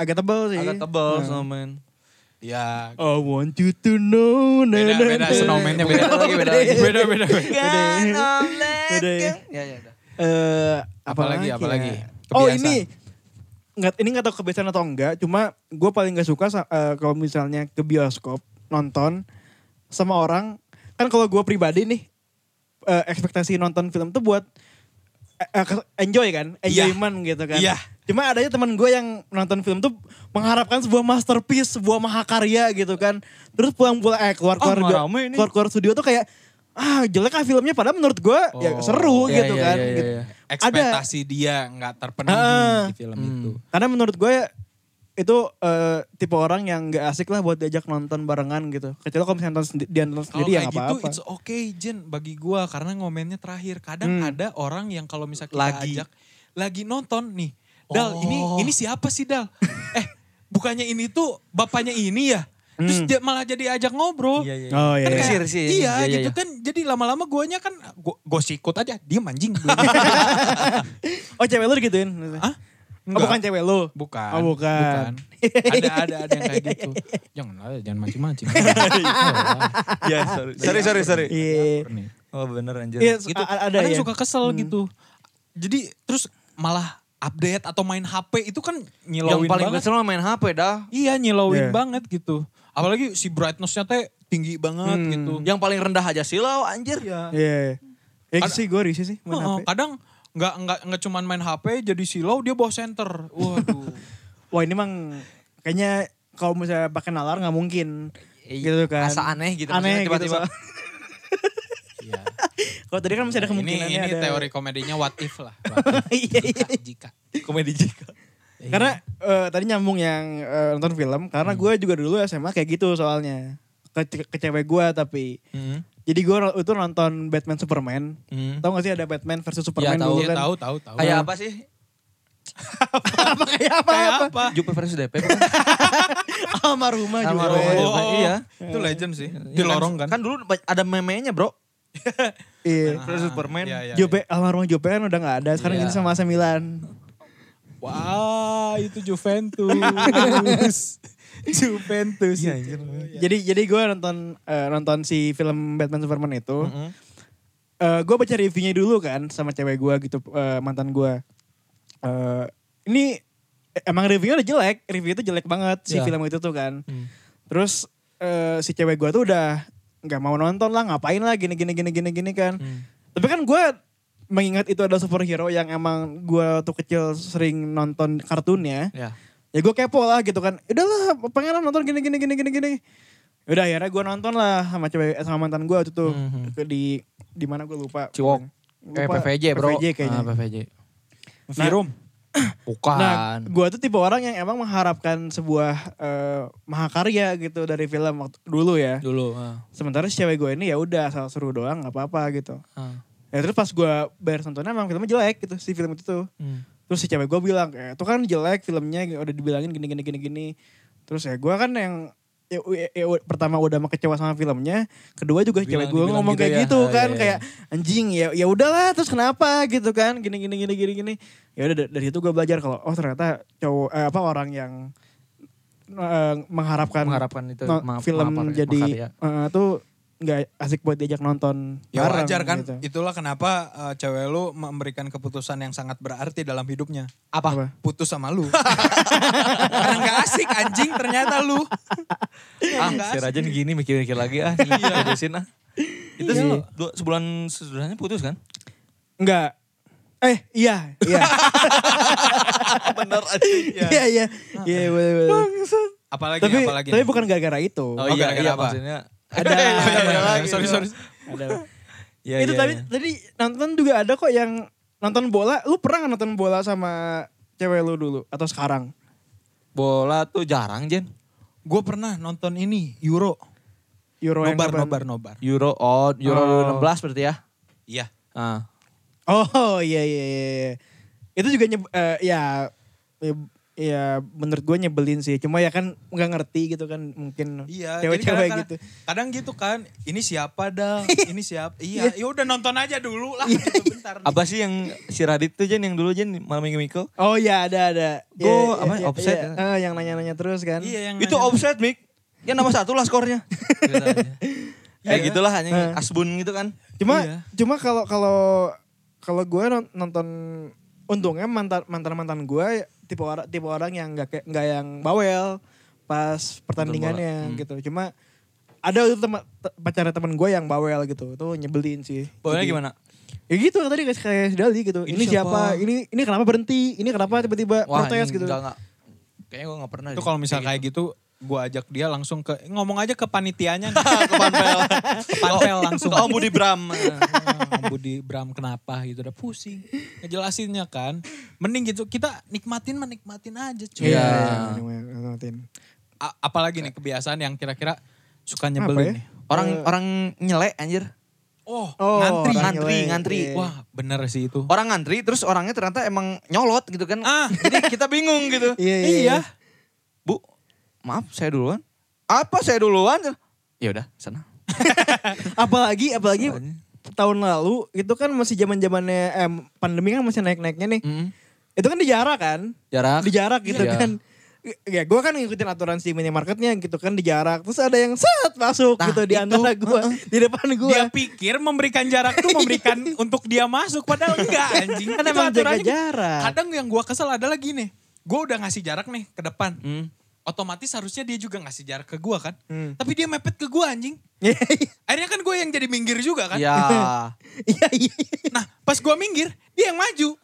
Speaker 2: agak tebal Iya sih.
Speaker 1: Agak tebal snowman.
Speaker 3: Ya.
Speaker 2: I want you to know. na- na-
Speaker 3: Beda,
Speaker 2: na-
Speaker 3: beda, snowman-nya beda
Speaker 1: lagi, beda lagi.
Speaker 3: Beda beda.
Speaker 2: Iya.
Speaker 3: beda.
Speaker 2: Beda ya.
Speaker 1: Ya ya udah.
Speaker 2: Eh,
Speaker 3: Apalagi,
Speaker 2: ya?
Speaker 3: apalagi?
Speaker 2: Oh
Speaker 3: Kebiasaan.
Speaker 2: ini nggak ini nggak tahu kebiasaan atau enggak. Cuma gue paling nggak suka sa- eh, kalau misalnya ke bioskop nonton sama orang kan kalau gue pribadi nih eh, ekspektasi nonton film tuh buat eh, eh, enjoy kan enjoyment gitu kan
Speaker 3: Iya.
Speaker 2: cuma adanya teman gue yang nonton film tuh mengharapkan sebuah masterpiece sebuah mahakarya gitu kan terus pulang-pulang eh keluar
Speaker 1: Ah,
Speaker 2: keluar
Speaker 1: rame ini.
Speaker 2: keluar keluar studio tuh kayak ah jelek ah filmnya padahal menurut gue ya
Speaker 1: Oh,
Speaker 2: seru
Speaker 1: iya,
Speaker 2: gitu
Speaker 1: iya,
Speaker 2: kan
Speaker 1: iya,
Speaker 2: gitu.
Speaker 1: iya.
Speaker 2: ada
Speaker 3: ya,
Speaker 2: [LAUGHS]
Speaker 3: ekspektasi dia nggak terpenuhi Gitu.
Speaker 2: Ah.
Speaker 3: di film itu.
Speaker 2: karena menurut gue itu eh, tipe orang yang gak asik lah buat diajak nonton barengan gitu. Kecuali kalau misalnya nonton sendi- dia nonton
Speaker 3: Kalau
Speaker 2: sendiri ya
Speaker 3: kayak
Speaker 2: gak
Speaker 3: gitu
Speaker 2: apa-apa.
Speaker 3: it's okay Jen bagi gua karena ngomennya terakhir. Kadang
Speaker 2: Hmm.
Speaker 3: ada orang yang kalau misalnya kita
Speaker 1: Lagi. Oh.
Speaker 3: ajak lagi nonton nih. Dal, ini ini siapa
Speaker 1: [LAUGHS]
Speaker 3: sih Dal? eh, bukannya ini tuh bapaknya ini ya? Terus dia malah jadi ajak ngobrol.
Speaker 1: Iya, iya.
Speaker 2: Hmm. Oh iya.
Speaker 3: Kan
Speaker 2: iya.
Speaker 1: Terkasih.
Speaker 3: kayak,
Speaker 1: risih.
Speaker 3: Iya,
Speaker 1: Iya, iya,
Speaker 3: gitu
Speaker 1: iya.
Speaker 3: kan. Jadi lama-lama guanya kan gua, gua sikut aja. Dia
Speaker 1: [LAUGHS]
Speaker 3: manjing.
Speaker 2: Oh cewek lu digituin?
Speaker 3: Hah?
Speaker 2: Oh, bukan cewek lu?
Speaker 3: Bukan.
Speaker 2: Oh [LAUGHS] bukan.
Speaker 3: Ada ada ada yang kayak gitu. jangan lah, jangan
Speaker 2: [LAUGHS]
Speaker 3: mancing-mancing.
Speaker 1: Iya, sorry. Sorry, sorry, sorry.
Speaker 2: Iya.
Speaker 1: Oh bener anjir.
Speaker 2: Iya,
Speaker 3: gitu.
Speaker 2: a- ada
Speaker 3: Kadang
Speaker 2: ya.
Speaker 3: suka kesel gitu. Jadi terus malah update atau main HP itu kan
Speaker 1: Yang
Speaker 3: nyilauin
Speaker 1: paling
Speaker 3: banget.
Speaker 1: kesel mah main HP dah.
Speaker 3: Iya
Speaker 2: Iya.
Speaker 3: nyilauin banget gitu. Apalagi si brightness-nya teh tinggi banget
Speaker 2: Hmm.
Speaker 3: gitu.
Speaker 1: Yang paling rendah aja silau anjir.
Speaker 3: Iya.
Speaker 2: Iya. Ya
Speaker 3: Ada-
Speaker 2: sih gue risih sih main HP.
Speaker 3: Heeh, kadang nggak nggak nggak cuman main HP jadi silau dia bawa center. Waduh.
Speaker 2: Wah ini mang kayaknya kalau misalnya pakai nalar nggak mungkin. Gitu kan.
Speaker 1: Asa aneh gitu,
Speaker 2: Aneh
Speaker 1: maksudnya tiba-tiba.
Speaker 2: tiba-tiba.
Speaker 3: Iya.
Speaker 2: [LAUGHS]
Speaker 3: Nah,
Speaker 2: kalau tadi kan masih [LAUGHS] ada
Speaker 3: ini
Speaker 2: kemungkinannya
Speaker 3: ini
Speaker 2: ada.
Speaker 3: teori komedinya what if lah.
Speaker 2: [LAUGHS] Iya, iya.
Speaker 3: Jika, jika.
Speaker 1: Komedi jika.
Speaker 3: Iya.
Speaker 2: Karena eh, tadi nyambung yang eh, nonton film karena
Speaker 3: Hmm.
Speaker 2: gue juga dulu SMA kayak gitu soalnya ke, ke cewek gue tapi
Speaker 3: Hmm.
Speaker 2: jadi gue itu nonton Batman Superman
Speaker 3: Hmm.
Speaker 2: tau gak sih ada Batman versus Superman dulu
Speaker 1: tahu.
Speaker 3: Iya,
Speaker 2: kan [LAUGHS]
Speaker 3: tahu tahu tahu.
Speaker 1: Kayak apa sih?
Speaker 2: apa kayak apa
Speaker 3: Kayak
Speaker 2: apa
Speaker 3: apa?
Speaker 1: Jupe versus DP.
Speaker 2: Almarhumah juga
Speaker 1: Almarhumah
Speaker 2: Iya.
Speaker 1: juga. iya.
Speaker 3: Oh, Itu legend sih. Di lorong kan.
Speaker 1: Kan dulu ba- ada meme-nya bro.
Speaker 2: iya
Speaker 1: Versus Superman.
Speaker 3: Iya, iya,
Speaker 2: Jupe almarhumah Jupe kan udah gak ada sekarang ini
Speaker 1: Iya.
Speaker 2: sama AC Milan
Speaker 3: Wah, itu
Speaker 2: [LAUGHS]
Speaker 3: Juventus. [LAUGHS] Juventus. Iya,
Speaker 2: jadi jadi gue nonton eh, nonton si film Batman Superman itu gue baca reviewnya dulu kan sama cewek gue gitu eh, mantan gue Eh, ini eh, emang reviewnya udah jelek review itu jelek banget si
Speaker 1: Iya.
Speaker 2: film itu tuh kan terus eh, si cewek gue tuh udah nggak mau nonton lah ngapain lah gini gini gini gini gini kan tapi kan gue mengingat itu ada superhero yang emang gue tuh kecil sering nonton kartunnya
Speaker 1: Ya.
Speaker 2: ya gue kepo lah gitu kan udahlah pengen lah nonton gini gini gini gini gini udah akhirnya gue nonton lah sama cewek eh, sama mantan gue waktu itu Ke di di mana gue lupa
Speaker 1: Ciwok.
Speaker 2: Lupa.
Speaker 1: Mhm. Kayak PVJ bro.
Speaker 2: PVJ kayaknya
Speaker 1: Ah, PVJ.
Speaker 3: Virum.
Speaker 1: Nah, Bukan.
Speaker 2: Nah, gue tuh tipe orang yang emang mengharapkan sebuah eh, mahakarya gitu dari film waktu, dulu ya.
Speaker 1: dulu. ah.
Speaker 2: Sementara si cewek gue ini ya udah asal seru doang, nggak apa-apa gitu.
Speaker 1: Ah.
Speaker 2: Ya terus pas gue bayar nontonnya emang filmnya jelek gitu si film itu tuh.
Speaker 1: Hmm.
Speaker 2: Terus si cewek gue bilang, "Eh, itu kan jelek filmnya udah dibilangin gini gini gini gini. Terus ya gue kan yang ya- ya- ya u- pertama udah mah kecewa sama filmnya, kedua juga si cewek
Speaker 1: Bilang-
Speaker 2: gue
Speaker 1: dibilang
Speaker 2: ngomong
Speaker 1: gitu
Speaker 2: kayak
Speaker 1: ya.
Speaker 2: gitu
Speaker 1: Ah,
Speaker 2: kan,
Speaker 1: iya, iya.
Speaker 2: kayak anjing ya ya udahlah terus kenapa gitu kan, gini gini gini gini gini. Ya udah da- dari itu gue belajar kalau oh ternyata cowok eh, apa orang yang eh, mengharapkan
Speaker 1: Mengharapkan itu,
Speaker 2: no-
Speaker 1: ma- ya,
Speaker 2: film
Speaker 1: mengharapkan
Speaker 2: jadi
Speaker 1: makarya.
Speaker 2: eh, tuh nggak asik buat diajak nonton
Speaker 3: Ya
Speaker 2: bareng
Speaker 3: wajar kan.
Speaker 2: gitu.
Speaker 3: Itulah kenapa eh, cewek lu memberikan keputusan yang sangat berarti dalam hidupnya.
Speaker 2: Apa?
Speaker 3: Putus sama lu. [LAUGHS] Karena gak asik anjing ternyata lu.
Speaker 1: Ah, si Rajen gini mikir-mikir lagi ah.
Speaker 3: Iya.
Speaker 1: [LAUGHS] Putusin ah. Itu
Speaker 2: Iya.
Speaker 1: se- dua- sebulan sesudahnya putus kan?
Speaker 2: Enggak. Eh, iya, iya.
Speaker 1: Bener aja.
Speaker 2: Iya, iya. Iya, boleh, boleh.
Speaker 3: Apalagi
Speaker 2: Tapi,
Speaker 3: apalagi.
Speaker 2: tapi bukan gara-gara itu.
Speaker 1: Oh
Speaker 3: Oh,
Speaker 1: iya,
Speaker 3: gara-gara
Speaker 1: iya
Speaker 3: apa?
Speaker 1: maksudnya.
Speaker 2: Ada-
Speaker 1: Ada lagi.
Speaker 3: sorry sorry.
Speaker 2: Ada-
Speaker 1: Iya,
Speaker 2: itu
Speaker 1: iya,
Speaker 2: tadi
Speaker 1: iya.
Speaker 2: tadi nonton juga ada kok yang nonton bola. Lu pernah nggak nonton bola sama cewek lu dulu atau sekarang?
Speaker 1: Bola tuh jarang Jen.
Speaker 3: Gue pernah nonton ini Euro.
Speaker 2: Euro yang
Speaker 3: nobar
Speaker 2: kapan?
Speaker 3: nobar nobar.
Speaker 1: Euro, oh Euro 16 berarti ya.
Speaker 3: Iya.
Speaker 1: Ah.
Speaker 2: Oh, iya iya iya. iya. Itu juga nyeb eh, ya ya ya, menurut gue nyebelin sih. Cuma ya kan nggak ngerti gitu kan mungkin
Speaker 3: Iya,
Speaker 2: cewek-cewek
Speaker 3: jadi kadang-
Speaker 2: gitu.
Speaker 3: Kadang gitu kan, ini siapa
Speaker 2: [LAUGHS]
Speaker 3: dah, ini siapa. Iya, ya udah nonton aja dulu lah,
Speaker 2: Iya.
Speaker 3: gitu, bentar. nih.
Speaker 1: Apa sih yang si Radit tuh Jen yang dulu Jen malam minggu Miko?
Speaker 2: Oh iya ada ada. Iya,
Speaker 1: Go,
Speaker 2: iya,
Speaker 1: apa,
Speaker 2: iya,
Speaker 1: offset
Speaker 2: iya.
Speaker 1: ya?
Speaker 2: Eh, yang nanya-nanya terus kan.
Speaker 3: Iya, yang
Speaker 1: Itu
Speaker 3: nanya.
Speaker 1: offset Mik. Ya nama satu lah skornya. Kayak gitulah hanya
Speaker 2: Eh.
Speaker 1: asbun gitu kan.
Speaker 2: Cuma
Speaker 3: Iya.
Speaker 2: cuma kalau kalau kalau gue non- nonton untungnya mantan mantan mantan gue tipe orang tipe
Speaker 1: Hmm.
Speaker 2: orang yang nggak kayak- nggak yang bawel pas pertandingannya gitu. Cuma ada itu teman te- pacarnya teman gue yang bawel gitu itu nyebelin sih
Speaker 1: Bawelnya
Speaker 2: Jadi-
Speaker 1: gimana?
Speaker 2: ya gitu tadi kayak kayak si Dali gitu
Speaker 1: Ini
Speaker 2: ini, siapa?
Speaker 1: siapa?
Speaker 2: ini ini kenapa berhenti ini kenapa tiba-tiba protes
Speaker 1: ini
Speaker 2: gitu
Speaker 1: Enggak, enggak. Kayaknya gue gak pernah.
Speaker 3: Itu kalau misal Iya, kayak gitu, gue ajak dia langsung ke ngomong aja ke panitianya. [LAUGHS]
Speaker 1: ke panpel. Oh,
Speaker 3: ke panpel langsung.
Speaker 1: Om Budi Bram.
Speaker 3: Ah, Budi Bram kenapa gitu udah pusing ngejelasinnya kan mending gitu kita nikmatin menikmatin aja cuy
Speaker 1: Iya.
Speaker 2: ngamatin.
Speaker 3: A- apalagi nih kebiasaan yang kira-kira suka
Speaker 2: Apa ya?
Speaker 3: nyebelin nih.
Speaker 1: Orang orang nyelek anjir.
Speaker 3: oh,
Speaker 2: Oh,
Speaker 3: ngantri
Speaker 2: orang
Speaker 1: Ngantri,
Speaker 2: nyelek.
Speaker 1: ngantri.
Speaker 2: Iya.
Speaker 3: wah bener sih itu
Speaker 1: Orang ngantri terus orangnya ternyata emang nyolot gitu kan.
Speaker 3: Ah.
Speaker 1: Jadi kita bingung gitu.
Speaker 2: Iya, [LAUGHS] iya, iya.
Speaker 1: Bu, maaf saya duluan. Apa saya duluan? Ya udah, sana.
Speaker 2: [LAUGHS] apalagi apalagi tahun lalu itu kan masih zaman zamannya eh, pandemi kan masih naik naiknya nih
Speaker 1: Mm.
Speaker 2: itu kan di jarak kan
Speaker 1: Jarak.
Speaker 2: di jarak gitu
Speaker 1: Iya.
Speaker 2: kan ya gue kan ngikutin aturan si minimarketnya gitu kan di jarak terus ada yang set masuk
Speaker 1: Nah,
Speaker 2: gitu di
Speaker 1: itu,
Speaker 2: antara gue di depan gue
Speaker 3: dia pikir memberikan jarak tuh
Speaker 2: [LAUGHS]
Speaker 3: memberikan untuk dia masuk padahal enggak anjing
Speaker 2: Kan
Speaker 3: Itu
Speaker 2: emang jaga
Speaker 3: aturannya.
Speaker 2: jarak.
Speaker 3: kadang yang gua kesel adalah gini gue udah ngasih jarak nih ke depan
Speaker 1: Hmm.
Speaker 3: otomatis harusnya dia juga ngasih jarak ke gua kan
Speaker 2: Hmm.
Speaker 3: tapi dia mepet ke gua anjing akhirnya kan gue yang jadi minggir juga kan
Speaker 2: [LAUGHS]
Speaker 1: Iya.
Speaker 2: iya iya
Speaker 3: nah pas gua minggir dia yang maju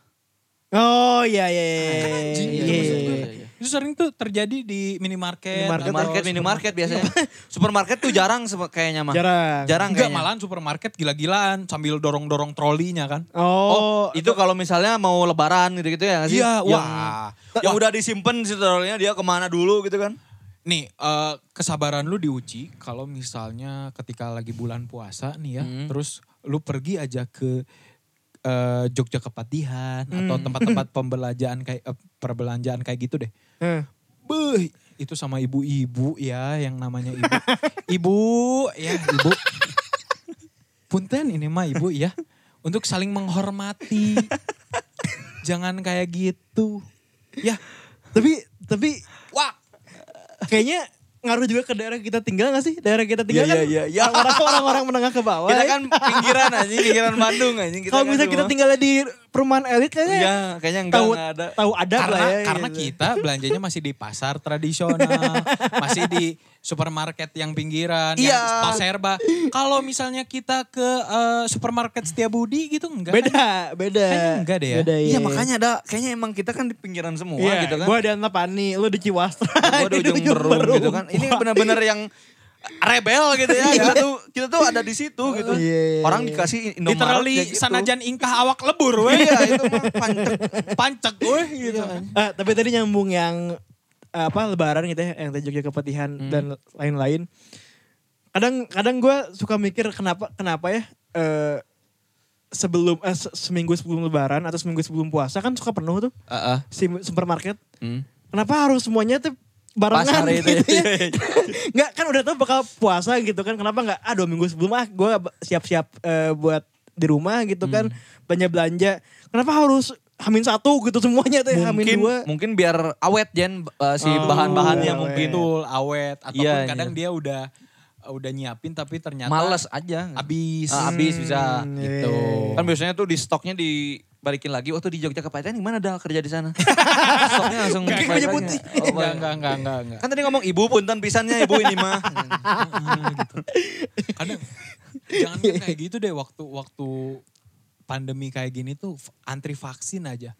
Speaker 2: oh iya iya iya
Speaker 3: Kan anjing,
Speaker 2: iya,
Speaker 1: gitu
Speaker 2: iya,
Speaker 1: maksud gue.
Speaker 2: iya.
Speaker 3: itu sering tuh terjadi di minimarket
Speaker 2: Minimarket,
Speaker 1: Minimarket, minimarket biasanya.
Speaker 2: Iya.
Speaker 1: Supermarket tuh jarang sebe- kayaknya mah.
Speaker 2: jarak
Speaker 1: Jarang
Speaker 3: Enggak
Speaker 1: kayaknya.
Speaker 3: malahan supermarket gila-gilaan sambil dorong-dorong trolinya kan.
Speaker 1: Oh,
Speaker 2: oh,
Speaker 1: itu kalau misalnya mau lebaran gitu-gitu ya nggak sih?
Speaker 3: Iya,
Speaker 1: Yang-
Speaker 3: wah.
Speaker 1: Yang udah disimpan si telurnya dia kemana dulu gitu kan.
Speaker 3: Nih, eh, kesabaran lu diuji kalau misalnya ketika lagi bulan puasa nih ya,
Speaker 1: Hmm.
Speaker 3: terus lu pergi aja ke eh, Jogja Kepatihan atau tempat-tempat pembelanjaan kayak eh, perbelanjaan kayak gitu deh.
Speaker 2: Eh,
Speaker 3: Beuh, itu sama ibu-ibu ya yang namanya ibu. ibu, ya ibu. Punten ini mah ibu ya. Untuk saling menghormati. Jangan kayak gitu. Ya,
Speaker 2: tapi tapi
Speaker 3: wah.
Speaker 2: kayaknya ngaruh juga ke daerah kita tinggal gak sih daerah kita tinggal
Speaker 1: Iya,
Speaker 2: kan
Speaker 1: iya, iya, iya.
Speaker 2: orang orang orang menengah ke bawah
Speaker 1: Kita
Speaker 2: ya.
Speaker 1: kan pinggiran anjing, pinggiran Bandung anjing.
Speaker 2: kalau
Speaker 1: kan
Speaker 2: misalnya kita
Speaker 1: cuma-
Speaker 2: tinggalnya di perumahan elit kayaknya
Speaker 1: Iya, kayaknya enggak,
Speaker 2: tahu
Speaker 1: enggak ada.
Speaker 2: tahu ada lah
Speaker 3: Karena,
Speaker 2: ya
Speaker 3: karena
Speaker 2: gitu.
Speaker 1: kan-
Speaker 3: kita belanjanya masih di pasar tradisional,
Speaker 2: [LAUGHS]
Speaker 3: masih di supermarket yang pinggiran,
Speaker 1: Iya.
Speaker 3: yang tos serba. Kalau misalnya kita ke eh, supermarket Setiabudi gitu enggak.
Speaker 2: beda beda
Speaker 3: Kayaknya enggak deh ya.
Speaker 2: Beda,
Speaker 1: Iya makanya ada, kayaknya emang kita kan di pinggiran semua
Speaker 2: Iya,
Speaker 1: gitu kan.
Speaker 2: Gue di Antapani, lu [LAUGHS] di Ciwastra.
Speaker 1: Gua [LAUGHS] di
Speaker 2: dia
Speaker 1: ujung Berung gitu kan. Ini benar-benar yang rebel gitu [LAUGHS] ya. Kita tuh kita tuh ada di situ gitu.
Speaker 2: Iya, iya,
Speaker 1: Orang dikasih Indomaret
Speaker 3: Literally
Speaker 1: ya gitu.
Speaker 3: sanajan ingkah awak lebur weh.
Speaker 1: Iya, itu mah pancek.
Speaker 3: Pancek weh gitu.
Speaker 2: Eh, tapi tadi nyambung yang eh, apa lebaran gitu ya, yang tadi Jogja Kepatihan
Speaker 1: Hmm.
Speaker 2: dan lain-lain. Kadang kadang gue suka mikir kenapa kenapa ya eh, sebelum eh, se- seminggu sebelum lebaran atau seminggu sebelum puasa kan suka penuh tuh
Speaker 1: Heeh.
Speaker 2: si supermarket.
Speaker 1: Hmm.
Speaker 2: Kenapa harus semuanya tuh barengan
Speaker 1: Pasar itu [LAUGHS]
Speaker 2: gitu
Speaker 1: ya.
Speaker 2: ya. Nggak kan udah tau bakal puasa gitu kan. Kenapa nggak ah dua minggu sebelum ah gue siap-siap eh, buat di rumah gitu kan.
Speaker 1: Hmm.
Speaker 2: Belanja-belanja. Kenapa harus hamin satu gitu semuanya tuh ya, hamin
Speaker 1: mungkin
Speaker 2: dua.
Speaker 1: mungkin biar awet Jen eh, si
Speaker 2: Oh,
Speaker 1: bahan-bahannya
Speaker 2: awet.
Speaker 1: mungkin
Speaker 3: Betul, awet ataupun
Speaker 1: Iya, iya.
Speaker 3: kadang dia udah udah nyiapin tapi ternyata
Speaker 1: males aja
Speaker 3: habis
Speaker 1: Ah, habis bisa
Speaker 2: Hmm,
Speaker 3: gitu.
Speaker 2: iya,
Speaker 1: kan biasanya tuh di stoknya dibalikin lagi waktu di Jogja Kepatihan gimana dah kerja di sana stoknya langsung
Speaker 2: Pakai
Speaker 1: balik
Speaker 2: baju
Speaker 1: lagi.
Speaker 2: putih.
Speaker 1: Oh,
Speaker 3: Enggak, enggak, enggak, enggak, enggak.
Speaker 1: kan tadi ngomong ibu punten pisannya ibu ini [LAUGHS] mah
Speaker 3: kadang jangan kan kayak gitu deh waktu waktu pandemi kayak gini tuh f- antri vaksin aja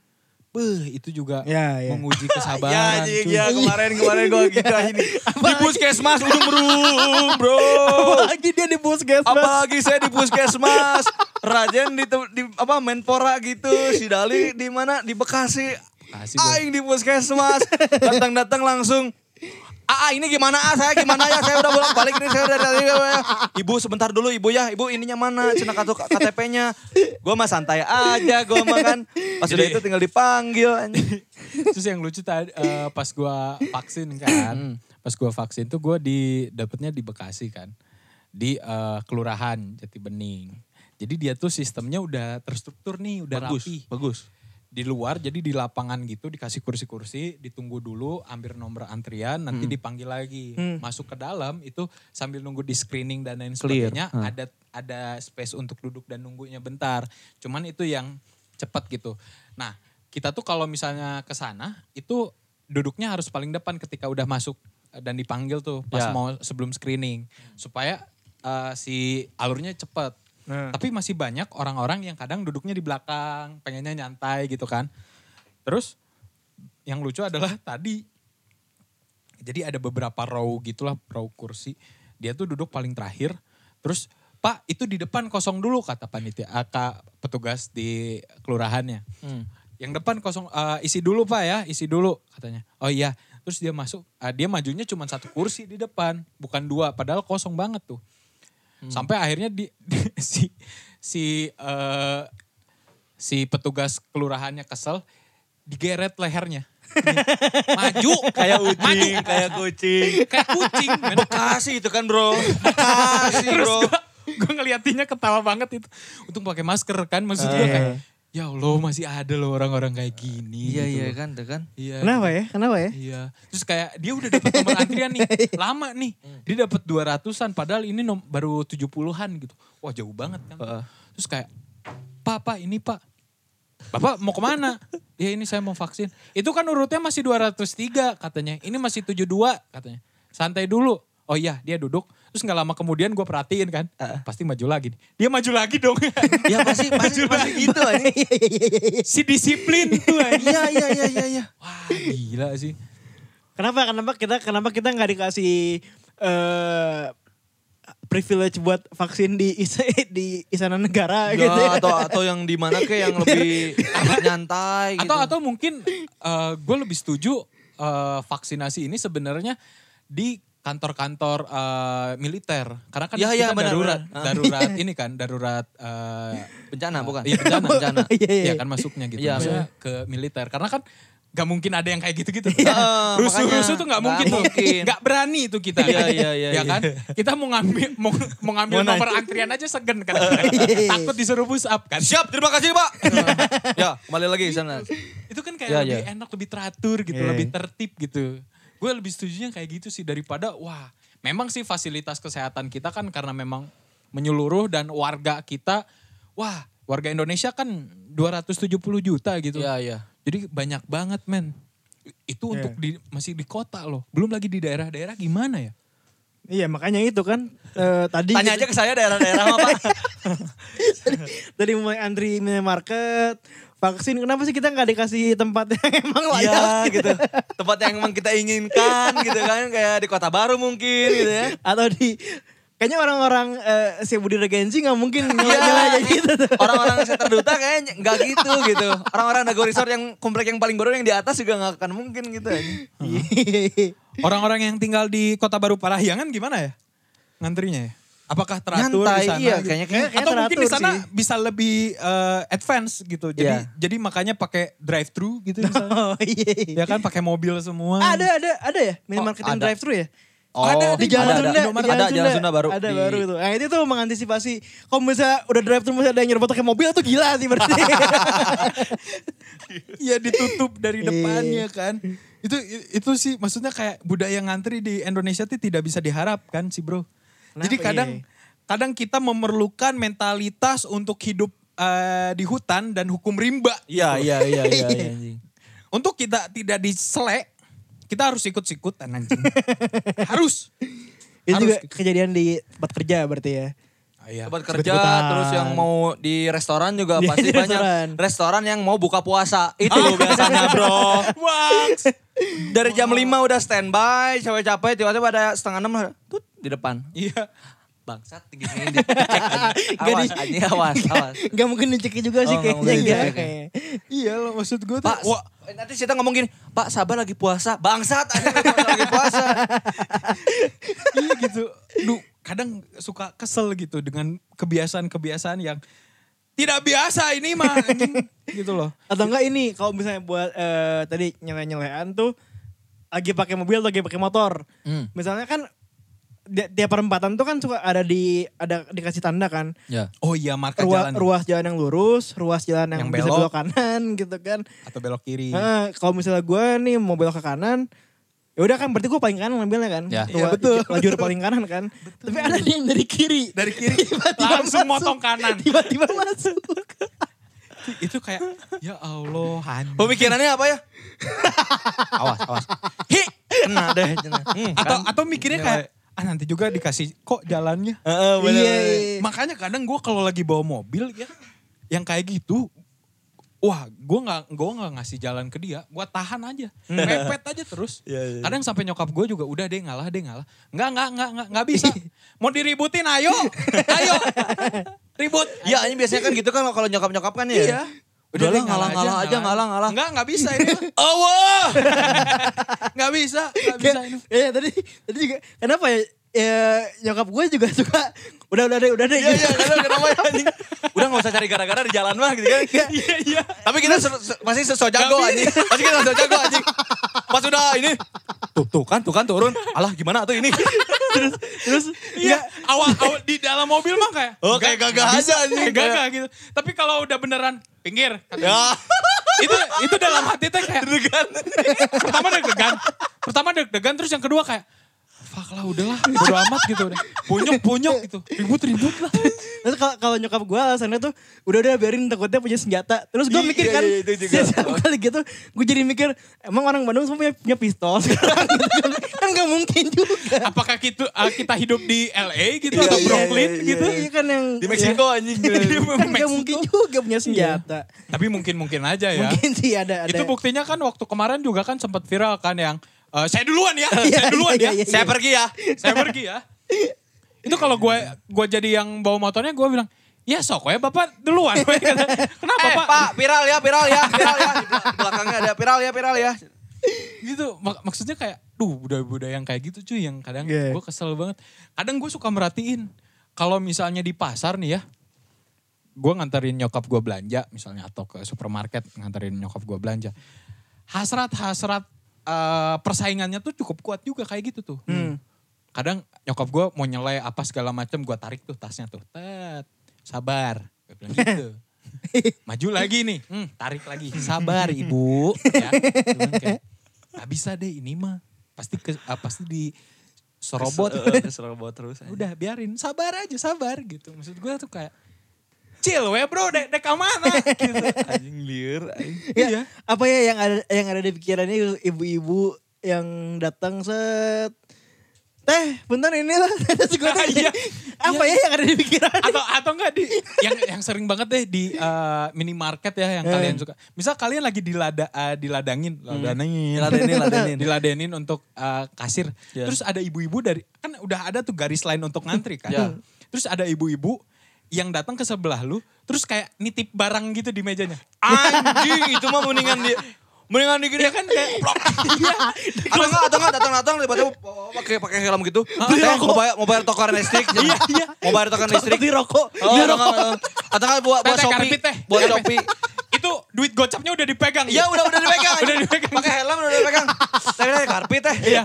Speaker 3: Beuh, itu juga
Speaker 2: Ya, ya.
Speaker 3: menguji
Speaker 1: [LAUGHS] ya
Speaker 3: kesabaran
Speaker 1: anjing
Speaker 3: cuy.
Speaker 1: ya kemarin kemarin gue [LAUGHS] gitu ini di puskesmas ujung berung [LAUGHS] bro
Speaker 2: Apalagi dia di puskesmas.
Speaker 1: apalagi saya di puskesmas Rajen di, tem- di apa Menpora gitu si Dali di mana di Bekasi
Speaker 3: Bekasi, Bro.
Speaker 1: aing di puskesmas datang-datang langsung Ah, ah, ini gimana? Ah, saya gimana ya? Saya udah bolak-balik ini, saya udah dari ya." Ibu sebentar dulu, Ibu ya. Ibu ininya mana? Cina kartu KTP-nya. Gua mah santai aja, gua mah kan. Pas udah itu tinggal dipanggil anjing.
Speaker 3: terus yang lucu tadi eh, pas gua vaksin
Speaker 1: Hmm.
Speaker 3: kan pas gua vaksin tuh gua di dapetnya di Bekasi kan di eh, kelurahan Jati Bening jadi dia tuh sistemnya udah terstruktur nih udah rapi
Speaker 1: bagus.
Speaker 3: di luar jadi di lapangan gitu dikasih kursi-kursi ditunggu dulu ambil nomor antrian nanti
Speaker 1: Hmm.
Speaker 3: dipanggil lagi masuk ke dalam itu sambil nunggu di screening dan
Speaker 1: Clear.
Speaker 3: lain
Speaker 1: Hmm.
Speaker 3: sebagainya ada ada space untuk duduk dan nunggunya bentar cuman itu yang cepat gitu nah kita tuh kalau misalnya ke sana itu duduknya harus paling depan ketika udah masuk eh, dan dipanggil tuh pas
Speaker 1: Ya. Hmm.
Speaker 3: mau sebelum screening supaya eh, si alurnya cepet.
Speaker 2: Nah.
Speaker 3: Tapi masih banyak orang-orang yang kadang duduknya di belakang, pengennya nyantai gitu kan. Terus yang lucu adalah [LAUGHS] tadi jadi ada beberapa row gitulah row kursi dia tuh duduk paling terakhir terus pak itu di depan kosong dulu kata panitia ah, kak petugas di kelurahannya yang depan kosong eh, isi dulu pak ya isi dulu katanya oh iya terus dia masuk ah, dia majunya cuma satu kursi di depan bukan dua padahal kosong banget tuh
Speaker 1: Hmm.
Speaker 3: sampai akhirnya di, di- [LAUGHS] si si eh, si petugas kelurahannya kesel digeret lehernya
Speaker 1: [LAUGHS]
Speaker 3: maju
Speaker 1: Kayak
Speaker 3: maju
Speaker 1: kucing, kayak kucing.
Speaker 3: kayak kucing men.
Speaker 1: Bekasi itu kan bro. Bekasi bro.
Speaker 3: gue ngeliatinnya ketawa banget itu untung pakai masker kan maksudnya
Speaker 2: Eh.
Speaker 3: kayak ya allah masih ada loh orang-orang kayak gini
Speaker 1: Iya
Speaker 3: gitu
Speaker 1: iya
Speaker 3: loh.
Speaker 1: kan, tuh kan.
Speaker 3: iya
Speaker 2: Kenapa ya? Kenapa ya?
Speaker 3: iya terus kayak dia udah dapat nomor antrian nih lama nih dia dapat 200-an padahal ini nom- baru 70-an gitu wah jauh banget kan terus kayak pak pak ini pak Bapak mau kemana? ya ini saya mau vaksin. Itu kan urutnya masih 203 katanya. Ini masih 72 katanya. Santai dulu. Oh iya dia duduk. Terus nggak lama kemudian gue perhatiin kan. Pasti maju lagi. nih. Dia maju lagi dong.
Speaker 1: [LAUGHS] Ya pasti pasti pasti gitu anjing.
Speaker 3: [LAUGHS] si disiplin tuh. anjing.
Speaker 1: Iya iya iya iya iya.
Speaker 3: Wah gila sih.
Speaker 2: Kenapa? Kenapa kita kenapa kita nggak dikasih eh privilege buat vaksin di is- [LAUGHS] di istana negara
Speaker 1: Ya,
Speaker 2: gitu?
Speaker 1: atau atau yang di mana ke yang [LAUGHS] lebih nyantai gitu.
Speaker 3: Atau atau mungkin gue lebih setuju eh, vaksinasi ini sebenarnya di kantor-kantor eh, militer. Karena kan
Speaker 1: Ya, ya,
Speaker 3: kita
Speaker 1: benar,
Speaker 3: darurat,
Speaker 1: benar. [LAUGHS]
Speaker 3: darurat ini kan, darurat eh,
Speaker 1: bencana bukan?
Speaker 3: Iya
Speaker 1: [LAUGHS]
Speaker 3: bencana.
Speaker 1: bencana.
Speaker 2: Iya, iya,
Speaker 3: Iya
Speaker 2: iya.
Speaker 3: kan masuknya gitu.
Speaker 1: Iya,
Speaker 3: Maksudnya ke militer. Karena kan gak mungkin ada yang kayak gitu-gitu. Kan?
Speaker 1: Heeh,
Speaker 3: Rusuh-rusuh
Speaker 1: Iya. Ah, makanya.
Speaker 3: tuh gak
Speaker 1: Nggak
Speaker 3: mungkin tuh.
Speaker 1: mungkin.
Speaker 3: Gak berani itu kita.
Speaker 1: Iya, iya, iya,
Speaker 3: Ya kan? Kita mau ngambil mau, mau ngambil
Speaker 2: Mau
Speaker 3: nomor antrian aja segen
Speaker 1: [LAUGHS]
Speaker 3: kan.
Speaker 2: Iya.
Speaker 3: Takut disuruh push up kan. Iya.
Speaker 1: Siap, terima kasih Pak. ya, kembali lagi sana.
Speaker 3: Itu kan kayak
Speaker 1: Iya,
Speaker 3: lebih
Speaker 1: iya.
Speaker 3: enak, lebih teratur gitu,
Speaker 2: Iya.
Speaker 3: lebih tertib gitu. Gue lebih setujunya kayak gitu sih daripada wah, memang sih fasilitas kesehatan kita kan karena memang menyeluruh dan warga kita wah, warga Indonesia kan 270 juta gitu.
Speaker 1: Iya iya.
Speaker 3: Jadi banyak banget men. Itu untuk di, masih di kota loh. Belum lagi di daerah-daerah gimana ya?
Speaker 2: Iya makanya itu kan eh, tadi
Speaker 1: Tanya aja ke saya daerah-daerah apa [LAUGHS] Pak.
Speaker 2: [LAUGHS] tadi mulai antri minimarket vaksin kenapa sih kita nggak dikasih tempat yang [LAUGHS] emang layak?
Speaker 1: Iya gitu. Tempat yang emang kita inginkan gitu kan kayak di Kota Baru mungkin gitu ya.
Speaker 2: Atau di kayaknya orang-orang eh, si Budi Regensi nggak mungkin
Speaker 1: Iya,
Speaker 2: nilai aja gitu [LAUGHS] tuh.
Speaker 1: Orang-orang sekitar duta kayaknya nggak gitu gitu. Orang-orang Dago Resort yang komplek yang paling baru yang di atas juga nggak akan mungkin gitu. anjing.
Speaker 2: Iya,
Speaker 3: Orang-orang yang tinggal di Kota Baru Parahyangan gimana ya? Ngantrinya ya? Apakah teratur
Speaker 1: Nyantai,
Speaker 3: di sana?
Speaker 1: iya,
Speaker 3: gitu?
Speaker 1: kayaknya- kayaknya
Speaker 3: Atau mungkin di
Speaker 2: teratur
Speaker 3: sana
Speaker 2: sih.
Speaker 3: bisa lebih eh, advance gitu. Jadi
Speaker 1: Iya.
Speaker 3: jadi makanya pakai drive thru
Speaker 1: [LAUGHS]
Speaker 3: gitu misalnya.
Speaker 2: Oh iya.
Speaker 3: ya kan pakai mobil semua.
Speaker 2: Ada ada ada ya minimarket
Speaker 1: Oh,
Speaker 2: yang
Speaker 1: ada.
Speaker 2: drive thru ya?
Speaker 1: Oh,
Speaker 2: ada di Jalan
Speaker 1: ada, ada.
Speaker 2: Sunda,
Speaker 1: Indomaret
Speaker 2: di
Speaker 1: ada, Jalan Sunda baru
Speaker 2: Ada
Speaker 1: di-
Speaker 2: baru itu. Nah, itu tuh mengantisipasi kalau misalnya udah drive thru masih ada yang nyerobot pakai mobil tuh gila sih
Speaker 1: [LAUGHS]
Speaker 2: berarti.
Speaker 3: Iya ditutup dari depannya kan. Itu itu sih maksudnya kayak budaya ngantri di Indonesia tuh tidak bisa diharapkan sih bro.
Speaker 1: ya?
Speaker 3: Jadi
Speaker 2: Kenapa?
Speaker 3: kadang
Speaker 2: Iya.
Speaker 3: kadang kita memerlukan mentalitas untuk hidup eh, di hutan dan hukum rimba. Gitu.
Speaker 1: Iya iya iya iya.
Speaker 3: [LAUGHS]
Speaker 1: iya, anjing.
Speaker 3: Untuk kita tidak diselek, kita harus ikut-ikutan
Speaker 1: [LAUGHS]
Speaker 3: anjing. harus.
Speaker 2: itu juga
Speaker 3: Harus.
Speaker 2: kejadian di tempat kerja berarti ya.
Speaker 3: Ah, iya.
Speaker 1: Tempat kerja
Speaker 2: Ikut-ikutan.
Speaker 1: terus yang mau di restoran juga
Speaker 2: Iya,
Speaker 1: pasti
Speaker 2: di restoran. Ah.
Speaker 1: banyak restoran yang mau buka puasa. Itu biasanya bro.
Speaker 2: [LAUGHS]
Speaker 3: Waks.
Speaker 1: Dari jam 5 udah standby, cewek capek tiba-tiba ada setengah 6 tut di depan.
Speaker 3: Iya.
Speaker 1: Bangsat tinggi tinggi
Speaker 2: [LAUGHS]
Speaker 1: Awas anjing awas awas.
Speaker 2: Gak mungkin dicekik juga sih
Speaker 1: Oh, nggak
Speaker 2: kayaknya.
Speaker 1: mungkin
Speaker 2: Iya.
Speaker 1: dicekik, ya.
Speaker 3: Iya loh maksud gue tuh.
Speaker 1: Pak,
Speaker 3: Wah,
Speaker 1: nanti kita ngomong gini, Pak Sabar lagi puasa, bangsat aja lagi
Speaker 2: [LAUGHS]
Speaker 1: puasa.
Speaker 3: iya gitu. Duh, kadang suka kesel gitu dengan kebiasaan-kebiasaan yang tidak biasa ini mah anjing. gitu loh.
Speaker 2: Atau enggak ini kalau misalnya buat eh, tadi nyeleh-nyelehan tuh lagi pakai mobil atau lagi pakai motor.
Speaker 3: Hmm.
Speaker 2: Misalnya kan di- tiap perempatan tuh kan suka ada di ada dikasih tanda kan.
Speaker 3: Ya. Oh iya marka
Speaker 2: Rua-
Speaker 3: jalan
Speaker 2: ruas jalan yang lurus, ruas jalan yang,
Speaker 3: Yang
Speaker 2: bisa
Speaker 3: belok.
Speaker 2: belok kanan [LAUGHS] gitu kan.
Speaker 3: atau belok kiri.
Speaker 2: Heeh, kalau misalnya gue nih mau belok ke kanan, ya udah kan berarti gue paling kanan ngambilnya kan.
Speaker 3: Ya.
Speaker 2: Tua-
Speaker 3: Iya, betul.
Speaker 2: Lajur paling kanan kan. [LAUGHS] Tapi ada yang dari kiri.
Speaker 3: Dari kiri langsung motong kanan.
Speaker 2: Tiba-tiba masuk.
Speaker 3: Itu kayak ya Allah, anjing.
Speaker 1: Pemikirannya apa ya?
Speaker 3: awas awas.
Speaker 1: Hi, Kena
Speaker 2: [LAUGHS]
Speaker 1: deh.
Speaker 2: Iya,
Speaker 1: Kena. Hmm,
Speaker 3: atau
Speaker 1: kan?
Speaker 3: atau mikirnya kayak ah nanti juga dikasih kok jalannya
Speaker 1: Heeh, bener.
Speaker 2: Iya, iya.
Speaker 3: makanya kadang gue kalau lagi bawa mobil ya yang kayak gitu wah gue nggak gue nggak ngasih jalan ke dia gue tahan aja mepet aja terus
Speaker 1: Hmm. [LAUGHS] Iya, iya.
Speaker 3: kadang sampai nyokap gue juga udah deh ngalah deh ngalah nggak nggak nggak nggak nggak bisa
Speaker 1: Iya.
Speaker 3: mau diributin
Speaker 1: [LAUGHS]
Speaker 3: ayo ayo ribut
Speaker 1: Ya, ini biasanya kan gitu kan kalau nyokap-nyokap kan ya.
Speaker 3: Iya.
Speaker 1: Udah
Speaker 3: deh,
Speaker 1: lah ngalah ngalah aja ngalah ngalah.
Speaker 3: Enggak, enggak bisa
Speaker 1: [LAUGHS]
Speaker 3: ini. Allah. Enggak bisa, enggak bisa ini.
Speaker 2: Iya tadi tadi juga kenapa ya, ya nyokap gue juga suka udah udah deh udah deh.
Speaker 1: Iya
Speaker 2: gitu. [LAUGHS]
Speaker 1: iya kenapa kenapa ya anjing. Udah gak usah cari gara-gara di jalan mah gitu kan.
Speaker 3: Iya, iya.
Speaker 1: Tapi kita se- se- masih sesok jago
Speaker 3: Tapi-
Speaker 1: anjing. Masih kita sesok jago anjing. Pas udah ini. Tuh, tuh kan, tuh kan turun. Alah gimana tuh ini.
Speaker 2: terus terus
Speaker 3: Iya,
Speaker 2: nggak-
Speaker 3: awal, awal di dalam mobil mah kayak
Speaker 1: Oh, kayak
Speaker 3: nggak-
Speaker 1: gagah
Speaker 3: nggak bisa,
Speaker 1: aja anjing.
Speaker 3: kayak gagah gitu. Tapi kalau udah beneran pinggir kata-
Speaker 1: Ya.
Speaker 3: itu itu dalam hati teh kayak
Speaker 1: Deg-degan.
Speaker 3: pertama deg-degan. Pertama deg-degan terus yang kedua kayak Fuck lah udahlah, bodo amat gitu udah. Bonyok-bonyok gitu, ribut-ribut lah.
Speaker 2: Terus kalau kalau nyokap gue alasannya tuh udah udah biarin takutnya punya senjata. Terus gue
Speaker 1: Iya,
Speaker 2: mikir kan
Speaker 1: iya, itu juga.
Speaker 2: setiap kali gitu gue jadi mikir emang orang Bandung semua punya, punya pistol sekarang [LAUGHS] gitu kan. kan nggak mungkin juga.
Speaker 3: Apakah kita, kita hidup di LA gitu
Speaker 1: Iya,
Speaker 3: atau
Speaker 1: iya,
Speaker 3: Brooklyn
Speaker 1: iya,
Speaker 3: gitu?
Speaker 2: Iya kan yang
Speaker 1: Di Meksiko Iya. anjing.
Speaker 3: Di
Speaker 2: ya, kan nggak
Speaker 3: Meksiko.
Speaker 2: mungkin juga punya senjata.
Speaker 3: Tapi mungkin-mungkin aja
Speaker 1: Iya.
Speaker 3: ya.
Speaker 2: Mungkin sih ada ada.
Speaker 3: Itu buktinya kan waktu kemarin juga kan sempat viral kan yang eh, saya duluan ya,
Speaker 2: Iya,
Speaker 3: saya duluan
Speaker 2: iya,
Speaker 3: ya,
Speaker 2: iya,
Speaker 1: Saya pergi ya.
Speaker 3: saya pergi ya. Itu kalau gue gue jadi yang bawa motornya gue bilang ya sok ya bapak duluan. [LAUGHS] Gue kata, Kenapa
Speaker 1: Eh,
Speaker 3: pak?
Speaker 1: Pak, viral ya, viral ya, viral [LAUGHS] ya. Di bel- belakangnya ada viral ya, viral ya.
Speaker 3: Gitu Mak- maksudnya kayak, duh budaya-budaya yang kayak gitu cuy yang kadang
Speaker 2: Iya.
Speaker 3: gue kesel banget. Kadang gue suka merhatiin kalau misalnya di pasar nih ya, gue nganterin nyokap gue belanja misalnya atau ke supermarket nganterin nyokap gue belanja. Hasrat-hasrat eh, persaingannya tuh cukup kuat juga kayak gitu tuh. Kadang nyokap gue mau nyelai apa segala macam gue tarik tuh tasnya tuh. Tet, sabar. Gue bilang gitu. Maju lagi nih, Hmm, tarik lagi. Sabar ibu. ya. Gua bilang kayak, Gak bisa deh ini mah. Pasti ke, ah, pasti di
Speaker 1: robot
Speaker 3: serobot.
Speaker 1: Eh, terus. anjing.
Speaker 3: [LAUGHS] Udah biarin, sabar aja, sabar gitu. Maksud gue tuh kayak, chill we bro, dek dek mana? [LAUGHS] gitu.
Speaker 1: Anjing liur. anjing.
Speaker 2: Ya,
Speaker 3: Iya.
Speaker 2: Apa ya yang ada yang ada di pikirannya ibu-ibu yang datang set Teh, bentar ini lah. [LAUGHS] Terus gue
Speaker 3: Iya.
Speaker 2: tanya, apa ya yang ada di pikiran?
Speaker 3: atau atau enggak di yang yang sering banget deh di eh, minimarket ya yang kalian suka. Misal kalian lagi dilada eh, diladangin, ladanin,
Speaker 1: Hmm. Diladenin, ladenin.
Speaker 3: [LAUGHS] diladenin untuk eh, kasir.
Speaker 1: Ya.
Speaker 3: Terus ada ibu-ibu dari kan udah ada tuh garis lain untuk ngantri kan.
Speaker 1: Ya.
Speaker 3: Terus ada ibu-ibu yang datang ke sebelah lu, terus kayak nitip barang gitu di mejanya.
Speaker 1: Ah,
Speaker 3: Anjing.
Speaker 1: Anjing, itu mah mendingan dia mendingan digini
Speaker 3: Iya kan kayak blok.
Speaker 1: Iya. atau enggak atau enggak datang datang tiba-tiba pakai pakai helm gitu Teh, mau bayar mau bayar token listrik iya iya mau bayar token listrik
Speaker 2: Di rokok,
Speaker 1: oh,
Speaker 2: di
Speaker 1: atau
Speaker 2: rokok.
Speaker 1: enggak atau enggak buat buat
Speaker 3: Teh, teh,
Speaker 1: shopee
Speaker 3: karpet, teh.
Speaker 1: buat
Speaker 3: Karpet.
Speaker 1: shopee
Speaker 3: [LAUGHS] Itu duit gocapnya udah dipegang.
Speaker 1: eh. iya udah udah dipegang
Speaker 3: [LAUGHS] Udah dipegang.
Speaker 1: pakai helm udah dipegang tapi teh karpet teh
Speaker 3: Iya.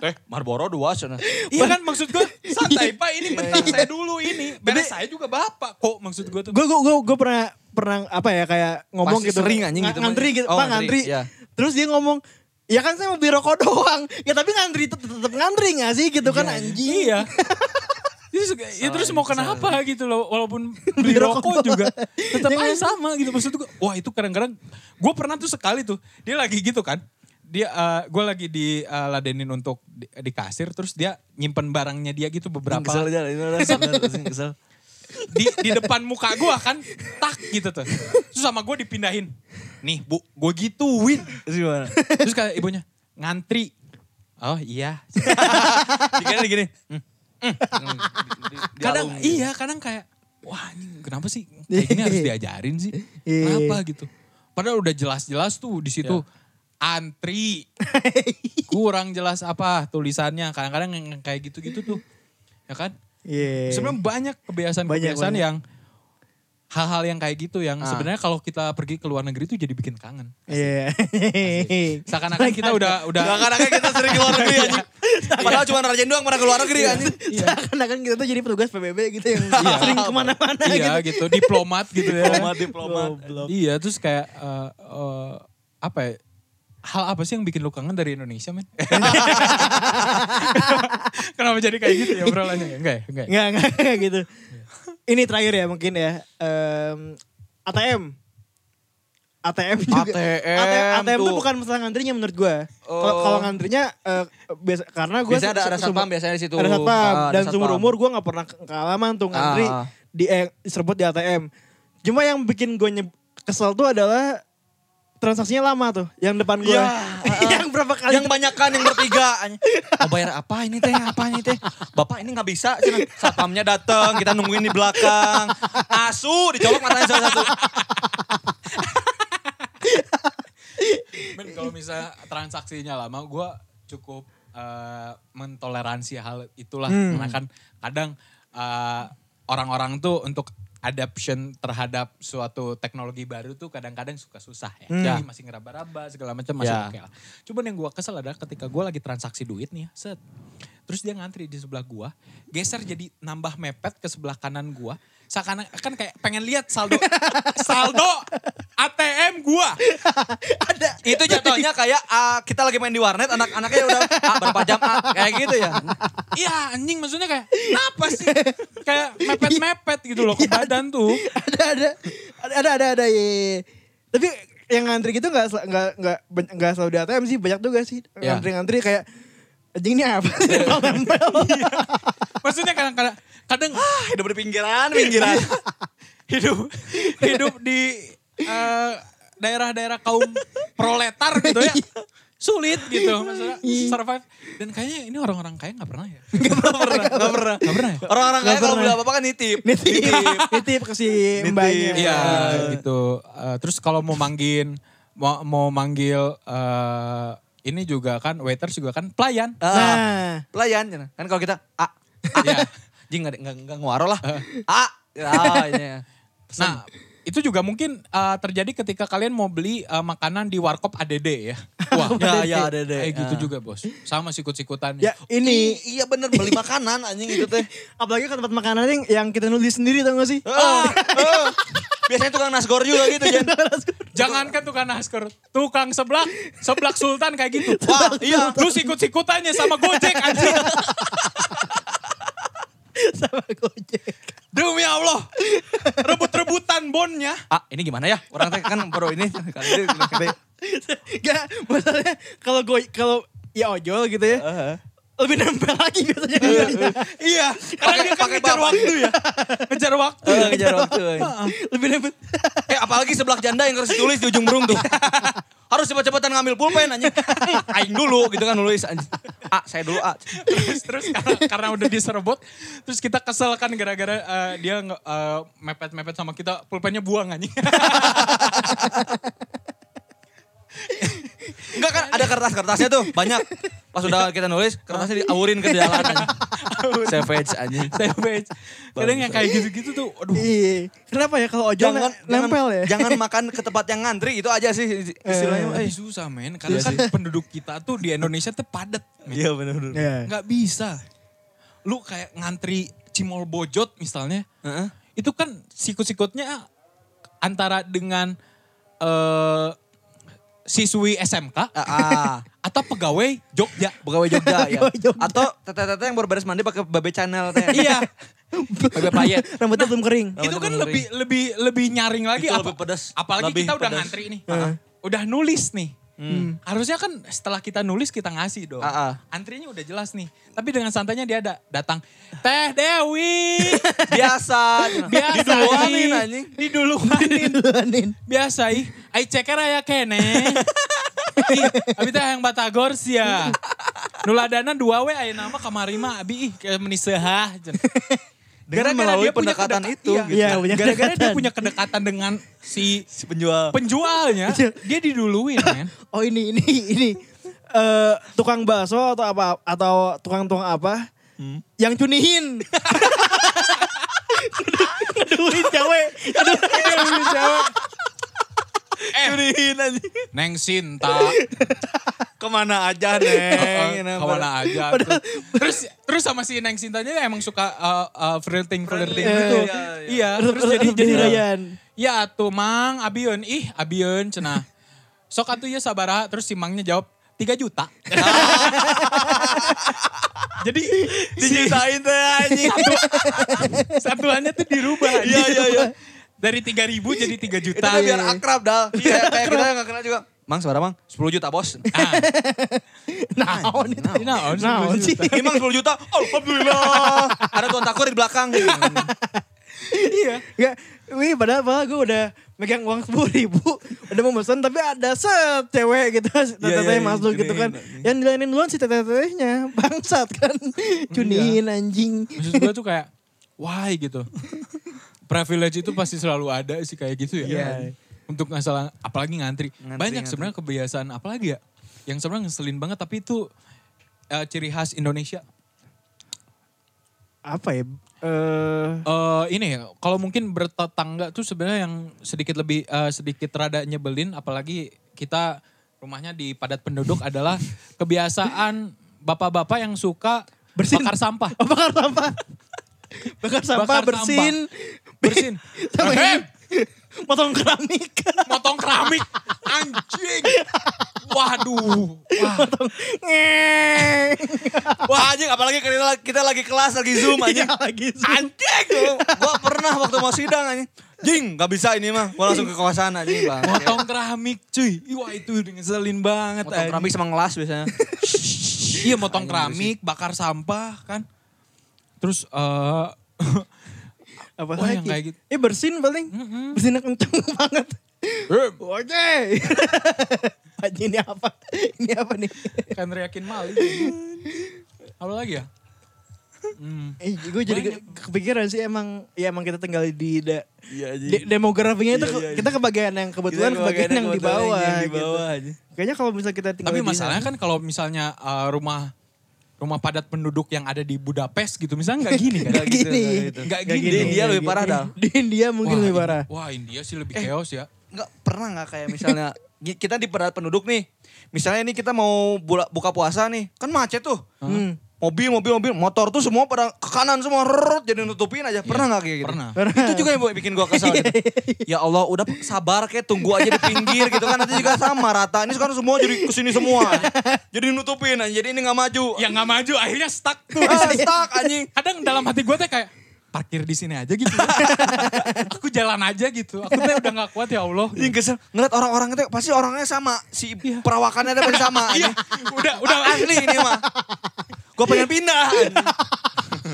Speaker 1: teh Marlboro dua sana
Speaker 3: Iya kan maksud gue santai
Speaker 1: Iya.
Speaker 3: pak ini bentar saya dulu ini. Beres saya juga bapak kok maksud gue tuh.
Speaker 2: Gue gue gue gue pernah pernah apa ya kayak ngomong
Speaker 1: Pasti
Speaker 2: gitu.
Speaker 1: sering anjing gitu,
Speaker 2: Nga- Ngantri
Speaker 1: Bang.
Speaker 2: gitu,
Speaker 1: Oh,
Speaker 2: Pak ngantri.
Speaker 1: ngantri, iya.
Speaker 2: Terus dia ngomong, ya kan saya mau beli rokok doang. Ya tapi ngantri tetep, tetep ngantri gak sih gitu kan anjing. [LAUGHS]
Speaker 3: Iya. Terus, ya terus mau kenapa gitu loh walaupun beli
Speaker 2: Beli rokok
Speaker 3: rokok juga
Speaker 2: doang.
Speaker 3: tetap
Speaker 2: Iya kan?
Speaker 3: aja sama gitu maksud gue wah itu kadang-kadang gue pernah tuh sekali tuh dia lagi gitu kan dia gue lagi di eh, ladenin untuk di, di kasir terus dia nyimpen barangnya dia gitu beberapa
Speaker 1: kesel aja kesel kesel
Speaker 3: di di depan muka gua kan tak gitu tuh terus sama gue dipindahin nih bu gue gituin
Speaker 1: gimana
Speaker 3: terus kata ibunya ngantri oh
Speaker 2: [LAUGHS]
Speaker 3: iya "Hmm,
Speaker 1: dikira gini
Speaker 3: kadang iya kadang kayak wah ini kenapa sih
Speaker 2: Iya.
Speaker 3: kayak gini harus diajarin sih kenapa gitu padahal udah jelas-jelas tuh di situ
Speaker 2: Iya.
Speaker 3: antri kurang jelas apa tulisannya kadang-kadang yang yang kayak gitu-gitu tuh ya kan
Speaker 2: [LAUGHS] Iya.
Speaker 3: sebenarnya banyak kebiasaan-kebiasaan
Speaker 2: banyak.
Speaker 3: yang hal-hal yang kayak gitu yang
Speaker 1: Ah.
Speaker 3: sebenarnya kalau kita pergi ke luar negeri tuh jadi bikin kangen
Speaker 2: Iya.
Speaker 3: seakan-akan kita udah udah
Speaker 1: kadang-kadang kita sering keluar negeri anjing padahal cuma Rajen doang pernah keluar negeri anjing
Speaker 2: Seakan-akan kita tuh jadi petugas PBB gitu yang sering kemana-mana
Speaker 3: iya
Speaker 2: gitu.
Speaker 3: gitu diplomat gitu ya
Speaker 1: Nah, diplomat diplomat
Speaker 3: Iya, terus kayak eh, eh, apa ya? Hal apa sih yang bikin lu kangen dari Indonesia, men? [LAUGHS] Kenapa jadi kayak gitu ya obrolannya? Enggak ya? Enggak. ya?
Speaker 2: Enggak, enggak, [LAUGHS] enggak gitu. Ini terakhir ya mungkin ya. Em, ATM. ATM juga.
Speaker 1: ATM
Speaker 2: ATM tuh
Speaker 1: tuh.
Speaker 2: bukan masalah ngantrinya menurut gue. Kalau
Speaker 1: Oh.
Speaker 2: kalau ngantrinya eh, biasa karena gue
Speaker 1: Biasanya ada- ada satpam biasanya di situ.
Speaker 2: Ada satpam
Speaker 1: Ah, ada
Speaker 2: dan
Speaker 1: satpam.
Speaker 2: seumur umur gue nggak pernah ke- kealaman tuh ngantri
Speaker 1: Ah.
Speaker 2: di eh, serput di ATM. Cuma yang bikin gue kesel tuh adalah transaksinya lama tuh yang depan gue.
Speaker 1: Iya.
Speaker 2: [LAUGHS] yang berapa kali
Speaker 1: yang banyak kan yang bertiga mau bayar apa ini teh apa ini teh bapak ini nggak bisa sih satpamnya datang kita nungguin di belakang asu dicolok matanya salah satu
Speaker 3: Men kalau misalnya transaksinya lama, gue cukup eh, mentoleransi hal itulah. Karena kan kadang eh, orang-orang tuh untuk adaption terhadap suatu teknologi baru tuh kadang-kadang suka susah ya. Jadi masih ngeraba-raba segala macam masih
Speaker 1: Ya.
Speaker 3: oke lah. Cuman yang gue kesel adalah ketika gue lagi transaksi duit nih ya, set. Terus dia ngantri di sebelah gua, geser jadi nambah mepet ke sebelah kanan gua. Seakan kan kayak pengen lihat saldo saldo ATM gua.
Speaker 1: ada itu jatuhnya kayak ah, kita lagi main di warnet anak-anaknya udah ah, berapa jam ah, kayak gitu ya
Speaker 3: Iya anjing maksudnya kayak kenapa sih? kayak mepet-mepet gitu loh ke badan tuh.
Speaker 2: Iya. [LAUGHS] ada ada ada ada ada, ada iya, iya, iya. tapi yang ngantri gitu nggak sel- nggak nggak ben- nggak selalu di ATM sih banyak juga sih
Speaker 3: Ya.
Speaker 2: ngantri ngantri kayak anjing ini apa sih
Speaker 3: Iya. [LAUGHS]
Speaker 2: nempel-nempel?"
Speaker 3: Maksudnya kadang-kadang kadang
Speaker 1: Ah, hidup di pinggiran
Speaker 2: [LAUGHS]
Speaker 1: pinggiran
Speaker 3: hidup hidup di eh, daerah-daerah kaum proletar gitu ya. Sulit gitu maksudnya survive. Dan kayaknya ini orang-orang kaya nggak pernah ya. Nggak pernah, nggak pernah. Nggak pernah ya.
Speaker 1: orang-orang kaya
Speaker 2: Nggak
Speaker 1: kalau
Speaker 2: pernah.
Speaker 1: beli apa-apa kan nitip
Speaker 2: nitip [LAUGHS] nitip ke si mbaknya
Speaker 3: Iya gitu. Eh, terus kalau mau manggil mau, mau manggil eh, ini juga kan waiters juga kan pelayan.
Speaker 1: Ah,
Speaker 2: Nah.
Speaker 1: pelayan kan kalau kita
Speaker 2: [LAUGHS]
Speaker 1: ah
Speaker 3: Iya.
Speaker 1: jing nggak nggak nggak nguaro lah [LAUGHS] ah ah iya.
Speaker 3: Nah, itu juga mungkin
Speaker 1: eh,
Speaker 3: uh, terjadi ketika kalian mau beli uh, makanan di warkop [LAUGHS] ADD ya. Wah,
Speaker 1: Ya, ya, ADD.
Speaker 3: Kayak gitu
Speaker 1: Ah.
Speaker 3: juga, Bos. Sama sikut-sikutan.
Speaker 2: ya ini
Speaker 1: I- iya bener beli makanan anjing itu
Speaker 2: [LAUGHS]
Speaker 1: teh
Speaker 2: apalagi ke tempat makanan yang, yang kita nulis sendiri tau gak sih
Speaker 3: Oh,
Speaker 1: Ah, ah. Biasanya tukang nasgor juga gitu,
Speaker 3: iya.
Speaker 1: Jan.
Speaker 3: Jangankan tukang naskor, tukang seblak, seblak sultan kayak gitu.
Speaker 1: [LAUGHS] Wah, iya.
Speaker 3: [LAUGHS] Lu sikut-sikutannya sama Gojek anjing.
Speaker 2: [LAUGHS] sama gojek
Speaker 3: Demi Allah. Rebut-rebutan bonnya.
Speaker 1: Ah, ini gimana ya? Orang teh kan baru ini kali ini kali-
Speaker 2: gak masalahnya kalau goj kalau ya ojol gitu ya lebih nempel lagi biasanya ngantrinya.
Speaker 3: [LAUGHS] Iya, karena dia kan
Speaker 1: pakai
Speaker 3: ngejar
Speaker 1: bapak.
Speaker 3: waktu ya. Ngejar waktu.
Speaker 1: Eh, ngejar waktu.
Speaker 2: [LAUGHS]
Speaker 1: eh.
Speaker 2: lebih nempel
Speaker 1: Eh, apalagi sebelah janda yang harus ditulis di ujung burung
Speaker 3: [LAUGHS]
Speaker 1: tuh. Harus cepat-cepatan ngambil pulpen anjing. Aing dulu gitu kan nulis anjing. Ah, saya dulu ah.
Speaker 3: terus terus karena, karena udah diserbot terus kita kesel kan gara-gara eh, dia nge- eh, mepet-mepet sama kita pulpennya buang anjing
Speaker 1: Enggak kan ada kertas-kertasnya tuh banyak. Pas udah kita nulis, kertasnya diawurin ke jalan. anjing. Savage
Speaker 3: [LAUGHS]
Speaker 1: anjing.
Speaker 3: savage kadang yang kayak gitu-gitu tuh aduh
Speaker 2: [LAUGHS] Iya. Kenapa ya kalau ojol
Speaker 1: Jangan
Speaker 2: ne- nempel
Speaker 1: jangan-
Speaker 2: ya?
Speaker 1: Jangan makan ke tempat yang ngantri itu aja sih istilahnya.
Speaker 3: Lebih susah men karena kan penduduk kita tuh di Indonesia tuh padat men.
Speaker 1: Iya benar benar.
Speaker 2: [LAUGHS] Iya.
Speaker 3: nggak bisa lu kayak ngantri cimol bojot misalnya
Speaker 1: Heeh.
Speaker 3: itu kan sikut-sikutnya antara dengan eh, siswi SMK
Speaker 1: Ah, ah.
Speaker 3: [LAUGHS] atau pegawai Jogja
Speaker 1: Pegawai Jogja ya.
Speaker 2: Pegawai Jogja.
Speaker 1: Atau tete-tete yang baru beres mandi pakai babe channel teh.
Speaker 3: iya
Speaker 1: Pakai payet.
Speaker 2: [LAUGHS] Rambutnya belum kering.
Speaker 1: Rambut-
Speaker 3: itu kan
Speaker 1: Rambutnya
Speaker 3: lebih lebih lebih nyaring lagi
Speaker 1: Itu lebih pedas.
Speaker 3: apalagi
Speaker 1: Lebih
Speaker 3: kita udah
Speaker 1: pedas. Hmm.
Speaker 3: ngantri nih udah nulis nih harusnya kan setelah kita nulis kita ngasih dong
Speaker 1: Ah, ah.
Speaker 3: antrinya udah jelas nih tapi dengan santainya dia ada datang teh
Speaker 1: [LAUGHS]
Speaker 3: Dewi
Speaker 1: Biasa.
Speaker 3: biasa
Speaker 1: Diduluanin anjing.
Speaker 2: [LAUGHS]
Speaker 3: diduluanin
Speaker 2: Duluanin.
Speaker 3: biasa ih ai ceker aya kene Ih, abi teh yang batagor sia nuladana dua we aya nama kamari mah abi ih kayak meniseuhah
Speaker 1: Dengan melalui pendekatan itu,
Speaker 3: iya,
Speaker 1: gitu.
Speaker 3: iya,
Speaker 2: Iya, punya
Speaker 3: gara-gara dia
Speaker 2: kedekatan.
Speaker 3: punya kedekatan dengan si
Speaker 1: Si penjual.
Speaker 3: penjualnya, dia diduluin men.
Speaker 2: Oh ini ini ini eh tukang bakso atau apa atau tukang tukang apa
Speaker 1: Hmm.
Speaker 2: yang cunihin. [LAUGHS] Ngeduin cewek. Ngeduin cewek.
Speaker 1: Curiin anjing.
Speaker 3: Eh, Neng Sinta,
Speaker 1: Kemana [LAUGHS] aja
Speaker 3: eh,
Speaker 1: neng.
Speaker 3: kawana aja. tuh. Terus terus sama si Neng Sintanya dia emang suka uh, uh, flirting flirting
Speaker 1: Friendly,
Speaker 3: gitu.
Speaker 1: iya, iya.
Speaker 3: Iya, terus jadi jadi
Speaker 2: jadi Ryan.
Speaker 3: Ya atuh mang, abion ih abion cenah. Sok atuh ya sabaraha terus si mangnya jawab 3 juta. [LAUGHS] Jadi
Speaker 1: Dijutain teh anjing.
Speaker 3: satuannya tuh dirubah.
Speaker 1: Iya, iya, iya.
Speaker 3: Dari 3000 jadi 3
Speaker 1: Itu
Speaker 3: juta.
Speaker 1: kan biar akrab dal. Iya, kayak kita yang gak kenal juga. Mang suara mang, 10 juta bos.
Speaker 3: Ah,
Speaker 2: Naon itu?
Speaker 3: naon,
Speaker 2: Naon
Speaker 3: naon,
Speaker 2: sih?
Speaker 1: Ini mang 10 juta, alhamdulillah. Ada tuan takur di belakang.
Speaker 2: Iya. Enggak. Wih padahal, padahal gue udah megang uang sepuluh ribu. Udah mau pesan tapi ada set cewek gitu.
Speaker 3: Iya,
Speaker 2: Teteh
Speaker 3: iya, iya,
Speaker 2: masuk gitu kan.
Speaker 3: gini-gini.
Speaker 2: Yang dilainin duluan si teteh-tetehnya. Bangsat kan. Cuniin anjing.
Speaker 3: Maksud gue tuh kayak, why gitu. Privilege itu pasti selalu ada sih kayak gitu
Speaker 2: Iya.
Speaker 3: ya. Untuk masalah, apalagi ngantri.
Speaker 1: Ngantri,
Speaker 3: Banyak
Speaker 1: ngantri.
Speaker 3: sebenarnya kebiasaan, apalagi ya. Yang sebenarnya ngeselin banget, tapi itu eh, ciri khas Indonesia.
Speaker 2: Apa ya? Eh
Speaker 3: Eh ini ya, kalau mungkin bertetangga tuh sebenarnya yang sedikit lebih eh, sedikit rada nyebelin apalagi kita rumahnya di padat penduduk adalah kebiasaan bapak-bapak yang suka
Speaker 2: Bersin.
Speaker 3: bakar sampah.
Speaker 2: oh, bakar sampah. bakar sampah,
Speaker 3: Bakar
Speaker 2: bersin.
Speaker 3: Bersin.
Speaker 2: [LAUGHS] Sama
Speaker 3: Ahem,
Speaker 2: ini. Potong keramik.
Speaker 3: motong keramik anjing. Waduh. Wah,
Speaker 2: Ngeng.
Speaker 1: Wah anjing, apalagi kita lagi, kita lagi kelas, lagi zoom anjing.
Speaker 2: Iya, lagi zoom.
Speaker 1: Anjing, gua pernah waktu mau sidang anjing. Jing, gak bisa ini mah. Gua langsung ke kawasan anjing bang.
Speaker 3: motong keramik cuy. Ih, Wah itu ngeselin banget.
Speaker 1: Motong
Speaker 3: anjing.
Speaker 1: keramik sama ngelas biasanya.
Speaker 3: Iya motong keramik, bakar sampah kan. Terus eh [LAUGHS]
Speaker 2: Apa
Speaker 3: Wah,
Speaker 2: lagi?
Speaker 3: yang kayak gitu.
Speaker 2: Eh bersin paling. Bersinnya kenceng [LAUGHS] banget.
Speaker 3: eh,
Speaker 2: Oke. [LAUGHS] Haji ini apa? Ini apa nih? [LAUGHS]
Speaker 3: kan reakin maling. Apa lagi ya? Hmm.
Speaker 2: Eh, gue jadi ke- kepikiran sih emang ya emang kita tinggal di da-
Speaker 1: Iya
Speaker 2: de- demografinya itu
Speaker 1: Iya,
Speaker 2: ke-
Speaker 1: iya,
Speaker 2: kita kebagian yang kebetulan kebagian, yang, di bawah. gitu.
Speaker 1: aja.
Speaker 2: Kayaknya kalau misalnya kita tinggal
Speaker 3: Tapi
Speaker 2: di-
Speaker 3: masalahnya kan kalau misalnya eh, rumah rumah padat penduduk yang ada di Budapest gitu, misalnya nggak gini kan?
Speaker 2: Nggak
Speaker 1: gitu,
Speaker 2: gini.
Speaker 1: nggak gitu.
Speaker 3: Nggak
Speaker 2: Nggak
Speaker 3: gini.
Speaker 1: Di India
Speaker 2: nggak
Speaker 1: lebih
Speaker 2: gini.
Speaker 1: parah
Speaker 2: [LAUGHS]
Speaker 1: dah.
Speaker 2: Di India mungkin
Speaker 3: Wah,
Speaker 2: lebih
Speaker 3: Ind-
Speaker 2: parah. Eh.
Speaker 3: Wah India sih lebih chaos ya.
Speaker 1: nggak pernah nggak kayak misalnya [LAUGHS] gi- kita di padat penduduk nih misalnya ini kita mau bula- buka puasa nih kan macet tuh
Speaker 2: Hmm.
Speaker 1: mobil mobil mobil motor tuh semua pada ke kanan semua rrrr, jadi nutupin aja pernah nggak kayak gitu
Speaker 3: Iya, pernah. Iya,
Speaker 1: itu juga yang bikin gua
Speaker 3: [LAUGHS]
Speaker 1: kesal gitu. ya Allah udah sabar kayak tunggu aja di pinggir gitu kan nanti juga sama rata ini sekarang semua jadi kesini
Speaker 3: [LAUGHS]
Speaker 1: semua jadi nutupin aja jadi ini nggak maju
Speaker 3: Yang Ya nggak maju akhirnya stuck tuh.
Speaker 1: ah, [LAUGHS] stuck anjing
Speaker 3: Kadang dalam hati gue teh kayak parkir di sini aja gitu. [LAUGHS] aku jalan aja gitu. Aku teh udah nggak kuat ya Allah.
Speaker 1: Ini Iya, kesel ngeliat orang-orang itu pasti orangnya sama si perawakannya ada pasti sama
Speaker 3: Iya,
Speaker 1: anjing.
Speaker 3: udah udah Iya.
Speaker 1: asli ini mah. Gue pengen pindah.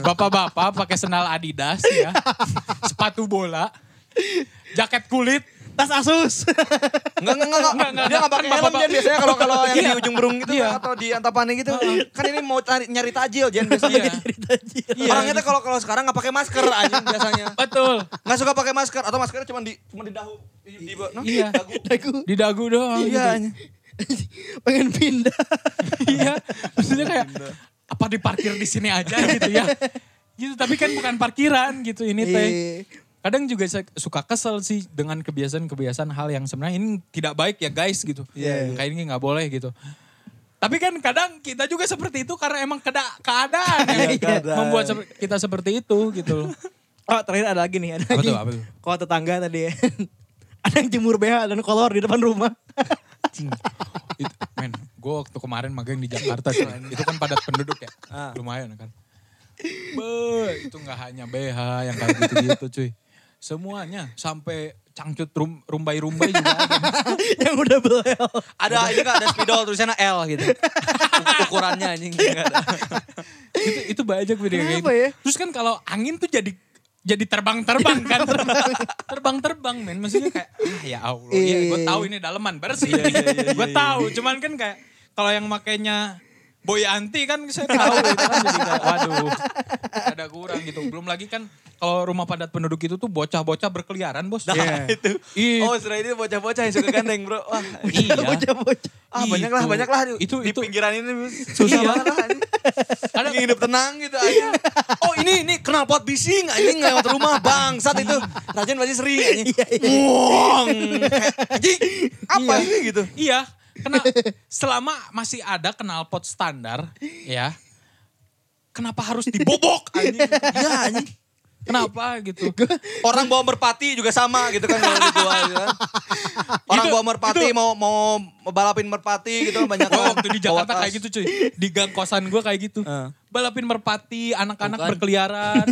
Speaker 3: Bapak-bapak pakai sendal Adidas ya. Sepatu bola. Jaket kulit.
Speaker 2: Tas Asus. [LAUGHS]
Speaker 1: Enggak, enggak, enggak.
Speaker 3: Enggak, enggak,
Speaker 1: Dia
Speaker 3: enggak.
Speaker 1: enggak pakai helm
Speaker 3: Bapak-
Speaker 1: Jen biasanya kalau kalau yang
Speaker 3: Iya.
Speaker 1: di ujung burung gitu
Speaker 3: Iya.
Speaker 1: atau di antapani gitu. Kan ini mau cari nyari tajil Jen
Speaker 3: Iya.
Speaker 1: biasanya.
Speaker 3: Iya.
Speaker 1: Orangnya tuh kalau kalau sekarang enggak pakai masker anjing biasanya.
Speaker 3: Betul.
Speaker 1: Enggak suka pakai masker atau maskernya cuma di cuma di dahu. Di, di, no?
Speaker 3: Iya.
Speaker 1: Dagu.
Speaker 2: Dagu.
Speaker 3: Di dagu doang.
Speaker 1: Iya.
Speaker 3: gitu.
Speaker 1: anjing.
Speaker 2: Pengen pindah. [LAUGHS]
Speaker 3: Iya. Maksudnya kayak apa diparkir di sini aja gitu ya. Gitu, tapi kan bukan parkiran gitu ini teh.
Speaker 2: Iya.
Speaker 3: Kadang juga saya suka kesel sih dengan kebiasaan-kebiasaan hal yang sebenarnya ini tidak baik ya guys gitu.
Speaker 2: Iya, iya.
Speaker 3: Kayak ini nggak boleh gitu. Tapi kan kadang kita juga seperti itu karena emang keda- keadaan yang
Speaker 2: Iya,
Speaker 1: keadaan.
Speaker 3: membuat seper- kita seperti itu gitu loh.
Speaker 2: Oh terakhir ada lagi nih, ada
Speaker 3: Apa
Speaker 2: lagi.
Speaker 3: tuh, apa tuh?
Speaker 2: Kalau tetangga tadi ya. [LAUGHS] ada yang jemur BH dan kolor di depan rumah. [LAUGHS]
Speaker 3: [LAUGHS] itu, men, gue waktu kemarin magang di Jakarta, cuy. itu kan padat penduduk ya,
Speaker 1: Ah.
Speaker 3: lumayan kan. Be, itu nggak hanya BH yang kayak gitu-gitu cuy. Semuanya sampai cangcut rum, rumbai-rumbai juga ada.
Speaker 2: yang udah belel.
Speaker 1: Ada ini enggak ada spidol tulisannya L gitu. Uk- Ukurannya anjing enggak ada.
Speaker 3: itu, itu banyak video kayak
Speaker 2: Kenapa
Speaker 3: gitu.
Speaker 2: ya?
Speaker 3: Terus kan kalau angin tuh jadi jadi terbang-terbang kan.
Speaker 1: Iya,
Speaker 3: Terbang-terbang men. Maksudnya kayak ah ya Allah. Ya, gue
Speaker 1: Iya.
Speaker 3: tahu ini daleman bersih. gue tahu. Cuman kan kayak kalau yang makainya Boyanti kan saya tahu itu kan jadi kayak, waduh ada kurang gitu. Belum lagi kan kalau rumah padat penduduk itu tuh bocah-bocah berkeliaran bos. Iya.
Speaker 1: Nah, itu.
Speaker 3: Ih.
Speaker 1: Oh, setelah itu bocah-bocah yang suka gandeng, Bro. Wah.
Speaker 3: Iya.
Speaker 2: Bocah-bocah.
Speaker 1: Ah, banyak lah,
Speaker 3: Itu.
Speaker 1: banyak lah.
Speaker 3: Itu-
Speaker 1: di
Speaker 3: itu-
Speaker 1: pinggiran ini susah
Speaker 3: Iya.
Speaker 1: banget lah. anjing.
Speaker 3: Ada- Iya.
Speaker 1: Ingin hidup tenang gitu anjing. Oh ini, ini knalpot bising anjing lewat rumah bangsat itu. Rajin pasti sering anjing.
Speaker 2: Iya,
Speaker 1: Wong. Anjing, apa
Speaker 3: Iya.
Speaker 1: sih gitu.
Speaker 3: Iya, kena selama masih ada knalpot standar, ya. Kenapa harus dibobok anjing?
Speaker 1: Ya anjing.
Speaker 3: Kenapa gitu?
Speaker 1: Orang bawa merpati juga sama gitu kan kalau dijual gitu kan. Orang
Speaker 3: Itu-
Speaker 1: bawa merpati
Speaker 3: itu-
Speaker 1: mau mau balapin merpati gitu kan banyak
Speaker 3: Gua
Speaker 1: kan.
Speaker 3: waktu di
Speaker 1: Bawa
Speaker 3: Jakarta
Speaker 1: tas.
Speaker 3: kayak gitu cuy. Di gang kosan gue kayak gitu.
Speaker 1: Heeh.
Speaker 3: Balapin merpati, anak-anak
Speaker 1: Bukan. [LAUGHS]
Speaker 3: berkeliaran.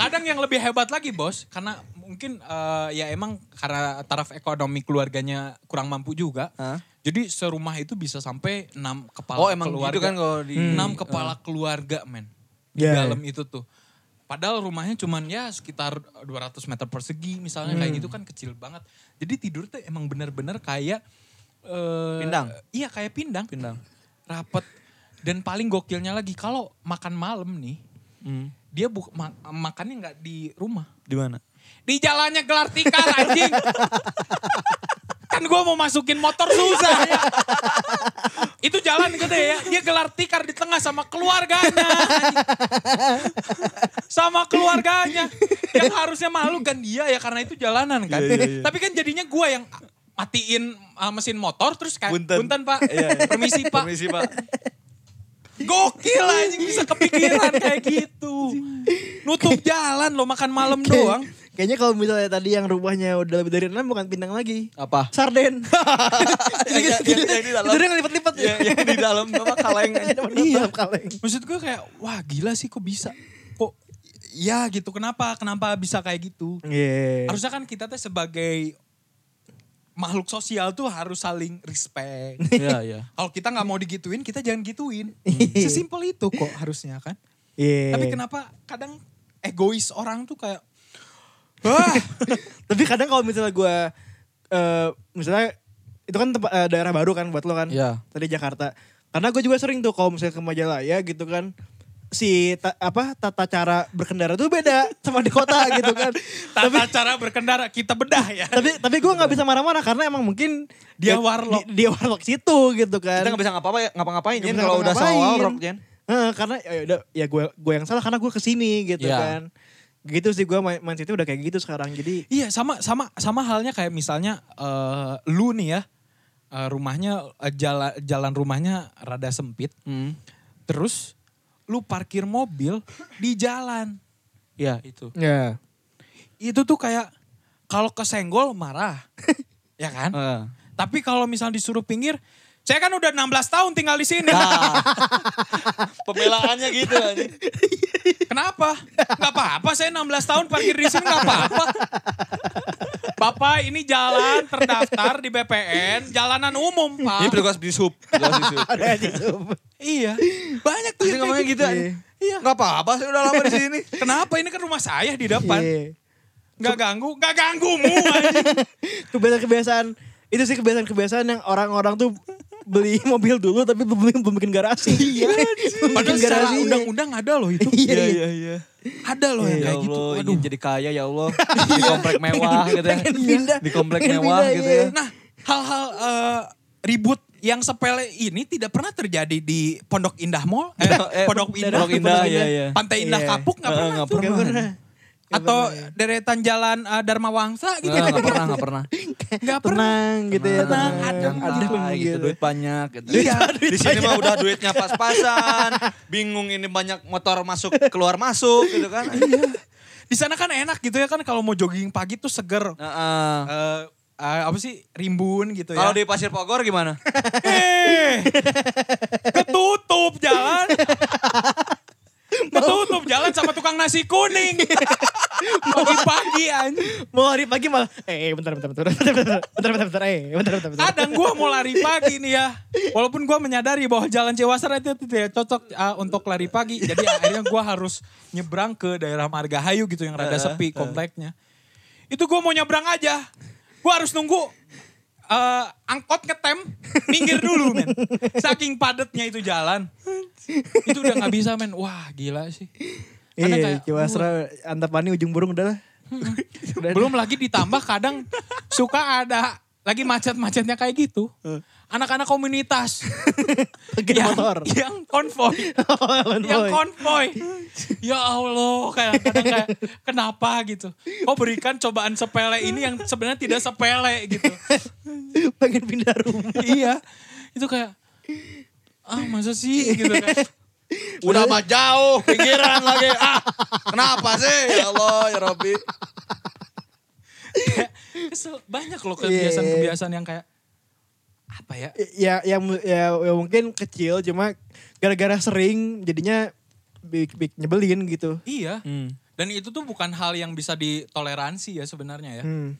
Speaker 3: Kadang yang lebih hebat lagi bos, karena mungkin eh, ya emang karena taraf ekonomi keluarganya kurang mampu juga.
Speaker 1: Hah?
Speaker 3: Jadi serumah itu bisa sampai 6 kepala
Speaker 1: Oh, emang gitu
Speaker 3: keluarga.
Speaker 1: kan kalau di-
Speaker 3: 6 kepala keluarga men. Di
Speaker 2: Ya,
Speaker 3: dalam itu tuh. Padahal rumahnya cuman ya sekitar 200 meter persegi misalnya kayak gitu kan kecil banget. Jadi tidur tuh emang bener-bener kayak eh,
Speaker 1: Pindang.
Speaker 3: Iya kayak pindang.
Speaker 1: Pindang.
Speaker 3: Rapet. Dan paling gokilnya lagi kalau makan malam nih dia bu ma- makannya nggak di rumah
Speaker 1: Di mana?
Speaker 3: di jalannya gelar tikar anjing kan gue mau masukin motor susah ya. itu jalan gede ya dia gelar tikar di tengah sama keluarganya anjing. sama keluarganya yang harusnya malu kan dia ya karena itu jalanan kan
Speaker 1: Iya,
Speaker 3: tapi kan jadinya gue yang matiin uh, mesin motor terus kayak
Speaker 1: Punten. Iya,
Speaker 3: punten pak Iya, permisi pak
Speaker 1: Permisi, Pak.
Speaker 3: Gokil anjing bisa kepikiran kayak gitu. Nutup jalan lo makan malam doang.
Speaker 2: Kayaknya kalau misalnya tadi yang rumahnya udah lebih dari 6 bukan pindang lagi. gitu.
Speaker 1: Apa?
Speaker 2: [LAUGHS] Sarden.
Speaker 1: Yang- yang- yang di dalam.
Speaker 2: Tidurnya ngelipat-lipat ya.
Speaker 3: Iya,
Speaker 1: Ya, yang di dalam apa kaleng.
Speaker 2: [LAUGHS] Iya, kaleng.
Speaker 3: Maksud gue kayak wah gila sih kok bisa. Kok ya gitu kenapa? Kenapa bisa kayak gitu?
Speaker 2: Iya.
Speaker 3: Harusnya kan kita teh sebagai makhluk sosial tuh harus saling respect.
Speaker 1: Iya, iya.
Speaker 3: Kalau kita nggak mau digituin, kita jangan gituin.
Speaker 2: Hmm.
Speaker 3: Sesimpel itu kok harusnya kan.
Speaker 2: Iya.
Speaker 3: Tapi kenapa kadang egois orang tuh kayak Wah,
Speaker 2: [LAUGHS] Tapi kadang kalau misalnya gue, eh misalnya itu kan tempat eh, daerah baru kan buat lo kan.
Speaker 1: Iya.
Speaker 2: Tadi Jakarta. Karena gue juga sering tuh kalau misalnya ke Majalaya gitu kan, si ta- apa tata cara berkendara tuh beda [LAUGHS] sama di kota gitu
Speaker 1: [LAUGHS]
Speaker 2: kan. tapi
Speaker 3: tata cara berkendara kita bedah ya.
Speaker 2: tapi tapi gue nggak bisa marah-marah karena emang mungkin ya,
Speaker 3: Dia warlock.
Speaker 2: di- dia warlock situ gitu kan.
Speaker 1: Kita gak bisa ngapa-ngapa ya, ngapa-ngapain
Speaker 2: Nggak
Speaker 1: Jen
Speaker 2: bisa
Speaker 1: kalau udah
Speaker 2: ngapa-ngapain.
Speaker 1: sawal rock Jen.
Speaker 2: Heeh, karena ya udah ya gue gue yang salah karena gue kesini gitu
Speaker 1: Iya.
Speaker 2: kan. Gitu sih gue main, main situ udah kayak gitu sekarang jadi
Speaker 3: Iya sama sama sama halnya kayak misalnya eh, lu nih ya eh, rumahnya jalan jalan rumahnya rada sempit,
Speaker 1: Hmm.
Speaker 3: terus lu parkir mobil di jalan
Speaker 1: Iya, itu.
Speaker 2: ya
Speaker 3: itu tuh kayak kalau kesenggol marah, [LAUGHS] ya kan?
Speaker 1: Eh.
Speaker 3: Tapi kalau misalnya disuruh pinggir, saya kan udah 16 tahun tinggal di sini.
Speaker 1: Nah.
Speaker 3: [LAUGHS]
Speaker 1: Pembelaannya gitu anjing.
Speaker 3: Iya, Kenapa? Gak apa-apa, saya 16 tahun parkir di sini gak apa-apa. Bapak ini jalan terdaftar di BPN, jalanan umum, Pak.
Speaker 1: Ini petugas di sub. Petugas di sub.
Speaker 2: ada gitu.
Speaker 1: [LAUGHS]
Speaker 3: Iya. Banyak tuh
Speaker 1: Pasti
Speaker 3: yang
Speaker 1: ngomongnya
Speaker 3: kayak gitu.
Speaker 1: gitu anjing. Iya. Gak apa-apa sih udah lama di sini.
Speaker 3: Kenapa ini kan rumah saya di depan?
Speaker 2: Iya.
Speaker 3: Gak ganggu, gak ganggumu.
Speaker 1: [LAUGHS]
Speaker 3: anjing.
Speaker 2: kebiasaan-kebiasaan itu sih kebiasaan-kebiasaan yang orang-orang tuh beli [LAUGHS] mobil dulu tapi belum bikin, belum bikin garasi. Iya. [LAUGHS]
Speaker 3: Padahal secara undang-undang ada loh itu.
Speaker 2: Iya, iya,
Speaker 1: iya.
Speaker 3: Ada loh yang
Speaker 1: Ya
Speaker 3: kayak gitu.
Speaker 1: Allah,
Speaker 3: Aduh. Iya.
Speaker 1: ingin jadi kaya ya
Speaker 3: [LAUGHS]
Speaker 1: Allah. Di komplek mewah gitu ya.
Speaker 2: [LAUGHS] pengen pindah,
Speaker 1: Di komplek
Speaker 2: pengen
Speaker 1: mewah
Speaker 2: pindah,
Speaker 1: gitu
Speaker 2: iya.
Speaker 1: ya.
Speaker 3: Nah, hal-hal eh, ribut yang sepele ini tidak pernah terjadi di Pondok Indah Mall, eh,
Speaker 1: Eh,
Speaker 3: Pondok Indah,
Speaker 1: Pondok Indah, iya, iya.
Speaker 3: Pantai Indah
Speaker 2: Iya.
Speaker 3: Kapuk nggak
Speaker 1: Eh,
Speaker 3: pernah,
Speaker 1: nggak
Speaker 3: tuh.
Speaker 1: pernah.
Speaker 3: atau deretan Jalan eh, Dharma Wangsa gitu,
Speaker 1: Enggak, enggak pernah, enggak pernah.
Speaker 3: nggak pernah.
Speaker 2: tenang gitu ya.
Speaker 3: Tenang,
Speaker 1: Yang
Speaker 2: adem
Speaker 1: tai gitu, duit banyak gitu.
Speaker 3: Iya.
Speaker 1: Di sini mah udah duitnya pas-pasan, bingung ini banyak motor masuk keluar masuk gitu kan.
Speaker 3: Di sana kan enak gitu ya kan kalau mau jogging pagi tuh
Speaker 1: Nah.
Speaker 3: seger.
Speaker 1: Heeh.
Speaker 3: Eh, eh, apa sih rimbun gitu ya.
Speaker 1: Kalau di Pasir Bogor gimana?
Speaker 3: Eh, ketutup jalan. Ketutup jalan sama tukang nasi kuning. Pagi-pagi anjing.
Speaker 2: Mau hari pagi malah eh eh, bentar bentar bentar bentar bentar bentar bentar, bentar eh bentar bentar bentar.
Speaker 3: Kadang gue mau lari pagi nih ya. Walaupun gue menyadari bahwa jalan Cewasar itu tidak cocok ah, untuk lari pagi. Jadi akhirnya gue harus nyebrang ke daerah Margahayu gitu yang rada sepi kompleknya. Itu gue mau nyebrang aja. Gue harus nunggu eh, angkot ngetem, minggir dulu men. Saking padatnya itu jalan. Itu udah gak bisa men. Wah gila sih. Kadang
Speaker 2: Iya,
Speaker 3: kayak,
Speaker 2: Ciwasra Antapani ujung burung udah lah. [LAUGHS] Udah.
Speaker 3: Belum lagi ditambah kadang suka ada lagi macet-macetnya kayak gitu. Anak-anak komunitas.
Speaker 2: Pakai
Speaker 1: Iya.
Speaker 2: motor. [LAUGHS]
Speaker 3: Yang konvoy. yang konvoy. Ya Allah, kadang-kadang kayak kenapa gitu. Oh berikan cobaan sepele ini yang sebenarnya tidak sepele gitu.
Speaker 2: pengen pindah rumah.
Speaker 3: iya. Itu kayak ah masa sih gitu kan.
Speaker 1: Udah mah jauh, pinggiran lagi. Ah, kenapa sih? Ya Allah, ya Rabbi.
Speaker 3: Kayak kesel. Banyak loh kebiasaan-kebiasaan yang kayak apa ya?
Speaker 2: Ya, ya, ya, ya mungkin kecil cuma gara-gara sering jadinya big, big nyebelin gitu.
Speaker 3: Iya. Dan itu tuh bukan hal yang bisa ditoleransi ya sebenarnya ya.
Speaker 4: Hmm.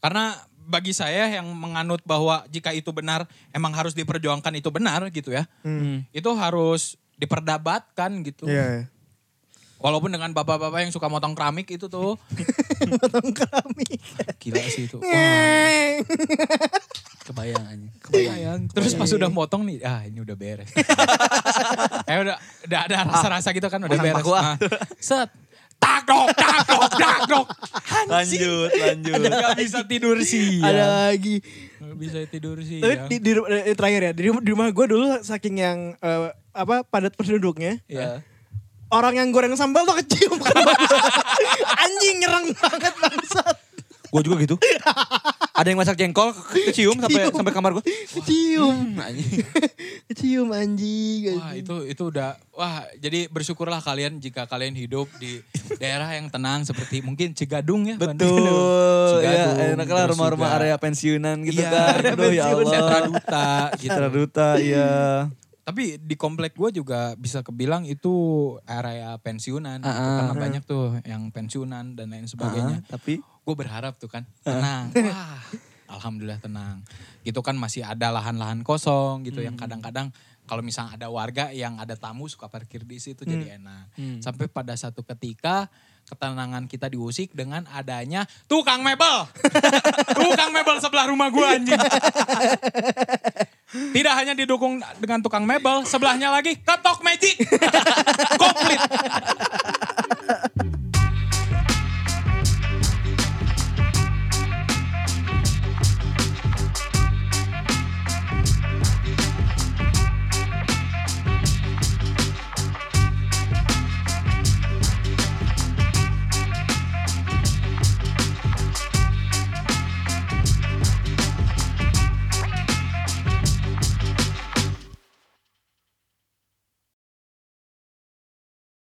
Speaker 3: Karena bagi saya yang menganut bahwa jika itu benar emang harus diperjuangkan itu benar gitu ya.
Speaker 2: hmm.
Speaker 3: Itu harus diperdebatkan gitu.
Speaker 4: Iya.
Speaker 3: Walaupun dengan bapak-bapak yang suka motong keramik itu tuh [LAUGHS]
Speaker 4: Potong keramik.
Speaker 3: gila sih itu. Wah, kebayang aja. Kebayang. Terus pas udah motong nih, ah ini udah beres. eh udah udah ada rasa-rasa gitu kan udah
Speaker 1: Pasang
Speaker 3: beres.
Speaker 1: paku, ah.
Speaker 3: Ah, set. Tak dok, tak dok, tak dok.
Speaker 1: Lanjut, lanjut.
Speaker 3: Gak bisa tidur siang.
Speaker 4: Ada lagi.
Speaker 3: Nggak bisa tidur
Speaker 2: Tapi
Speaker 3: siang.
Speaker 2: di, di, ru- eh, terakhir ya, di, rum- di rumah gue dulu saking yang eh, apa padat penduduknya,
Speaker 3: Ya.
Speaker 2: orang yang goreng sambal tuh kecium [LAUGHS] kenapa gua. Anjing nyerang banget bangsat.
Speaker 1: Gue juga gitu. Ada yang masak jengkol, ke- kecium sampai sampai kamar gue.
Speaker 4: Kecium.
Speaker 2: [LAUGHS]
Speaker 1: Anjing.
Speaker 4: Kecium anjing.
Speaker 3: Wah itu itu udah wah jadi bersyukurlah kalian jika kalian hidup di
Speaker 1: [LAUGHS]
Speaker 3: daerah yang tenang seperti mungkin Cigadung ya Bandung.
Speaker 1: Betul.
Speaker 3: [LAUGHS] Cigadung,
Speaker 1: Ya, enak lah
Speaker 3: terus
Speaker 1: rumah-rumah
Speaker 3: juga-
Speaker 1: area pensiunan gitu
Speaker 3: Iya, [LAUGHS]
Speaker 1: kan.
Speaker 3: area
Speaker 1: Aduh, ya
Speaker 3: pensiun, Sentra
Speaker 1: Allah.
Speaker 3: Duta gitu.
Speaker 1: Sentra Duta, iya.
Speaker 3: Tapi di komplek gue juga bisa kebilang itu area
Speaker 1: Ah,
Speaker 3: pensiunan. gitu.
Speaker 1: ah.
Speaker 3: Karena banyak tuh yang pensiunan dan lain sebagainya.
Speaker 1: Ah, tapi
Speaker 3: Gue berharap tuh kan tenang. Wah, alhamdulillah tenang. Gitu kan masih ada lahan-lahan kosong gitu yang kadang-kadang kalau misalnya ada warga yang ada tamu suka parkir di situ jadi enak. Sampai pada satu ketika ketenangan kita diusik dengan adanya tukang mebel. tukang mebel sebelah rumah gue anjing. Tidak hanya didukung dengan tukang mebel, sebelahnya lagi ketok magic. Komplit.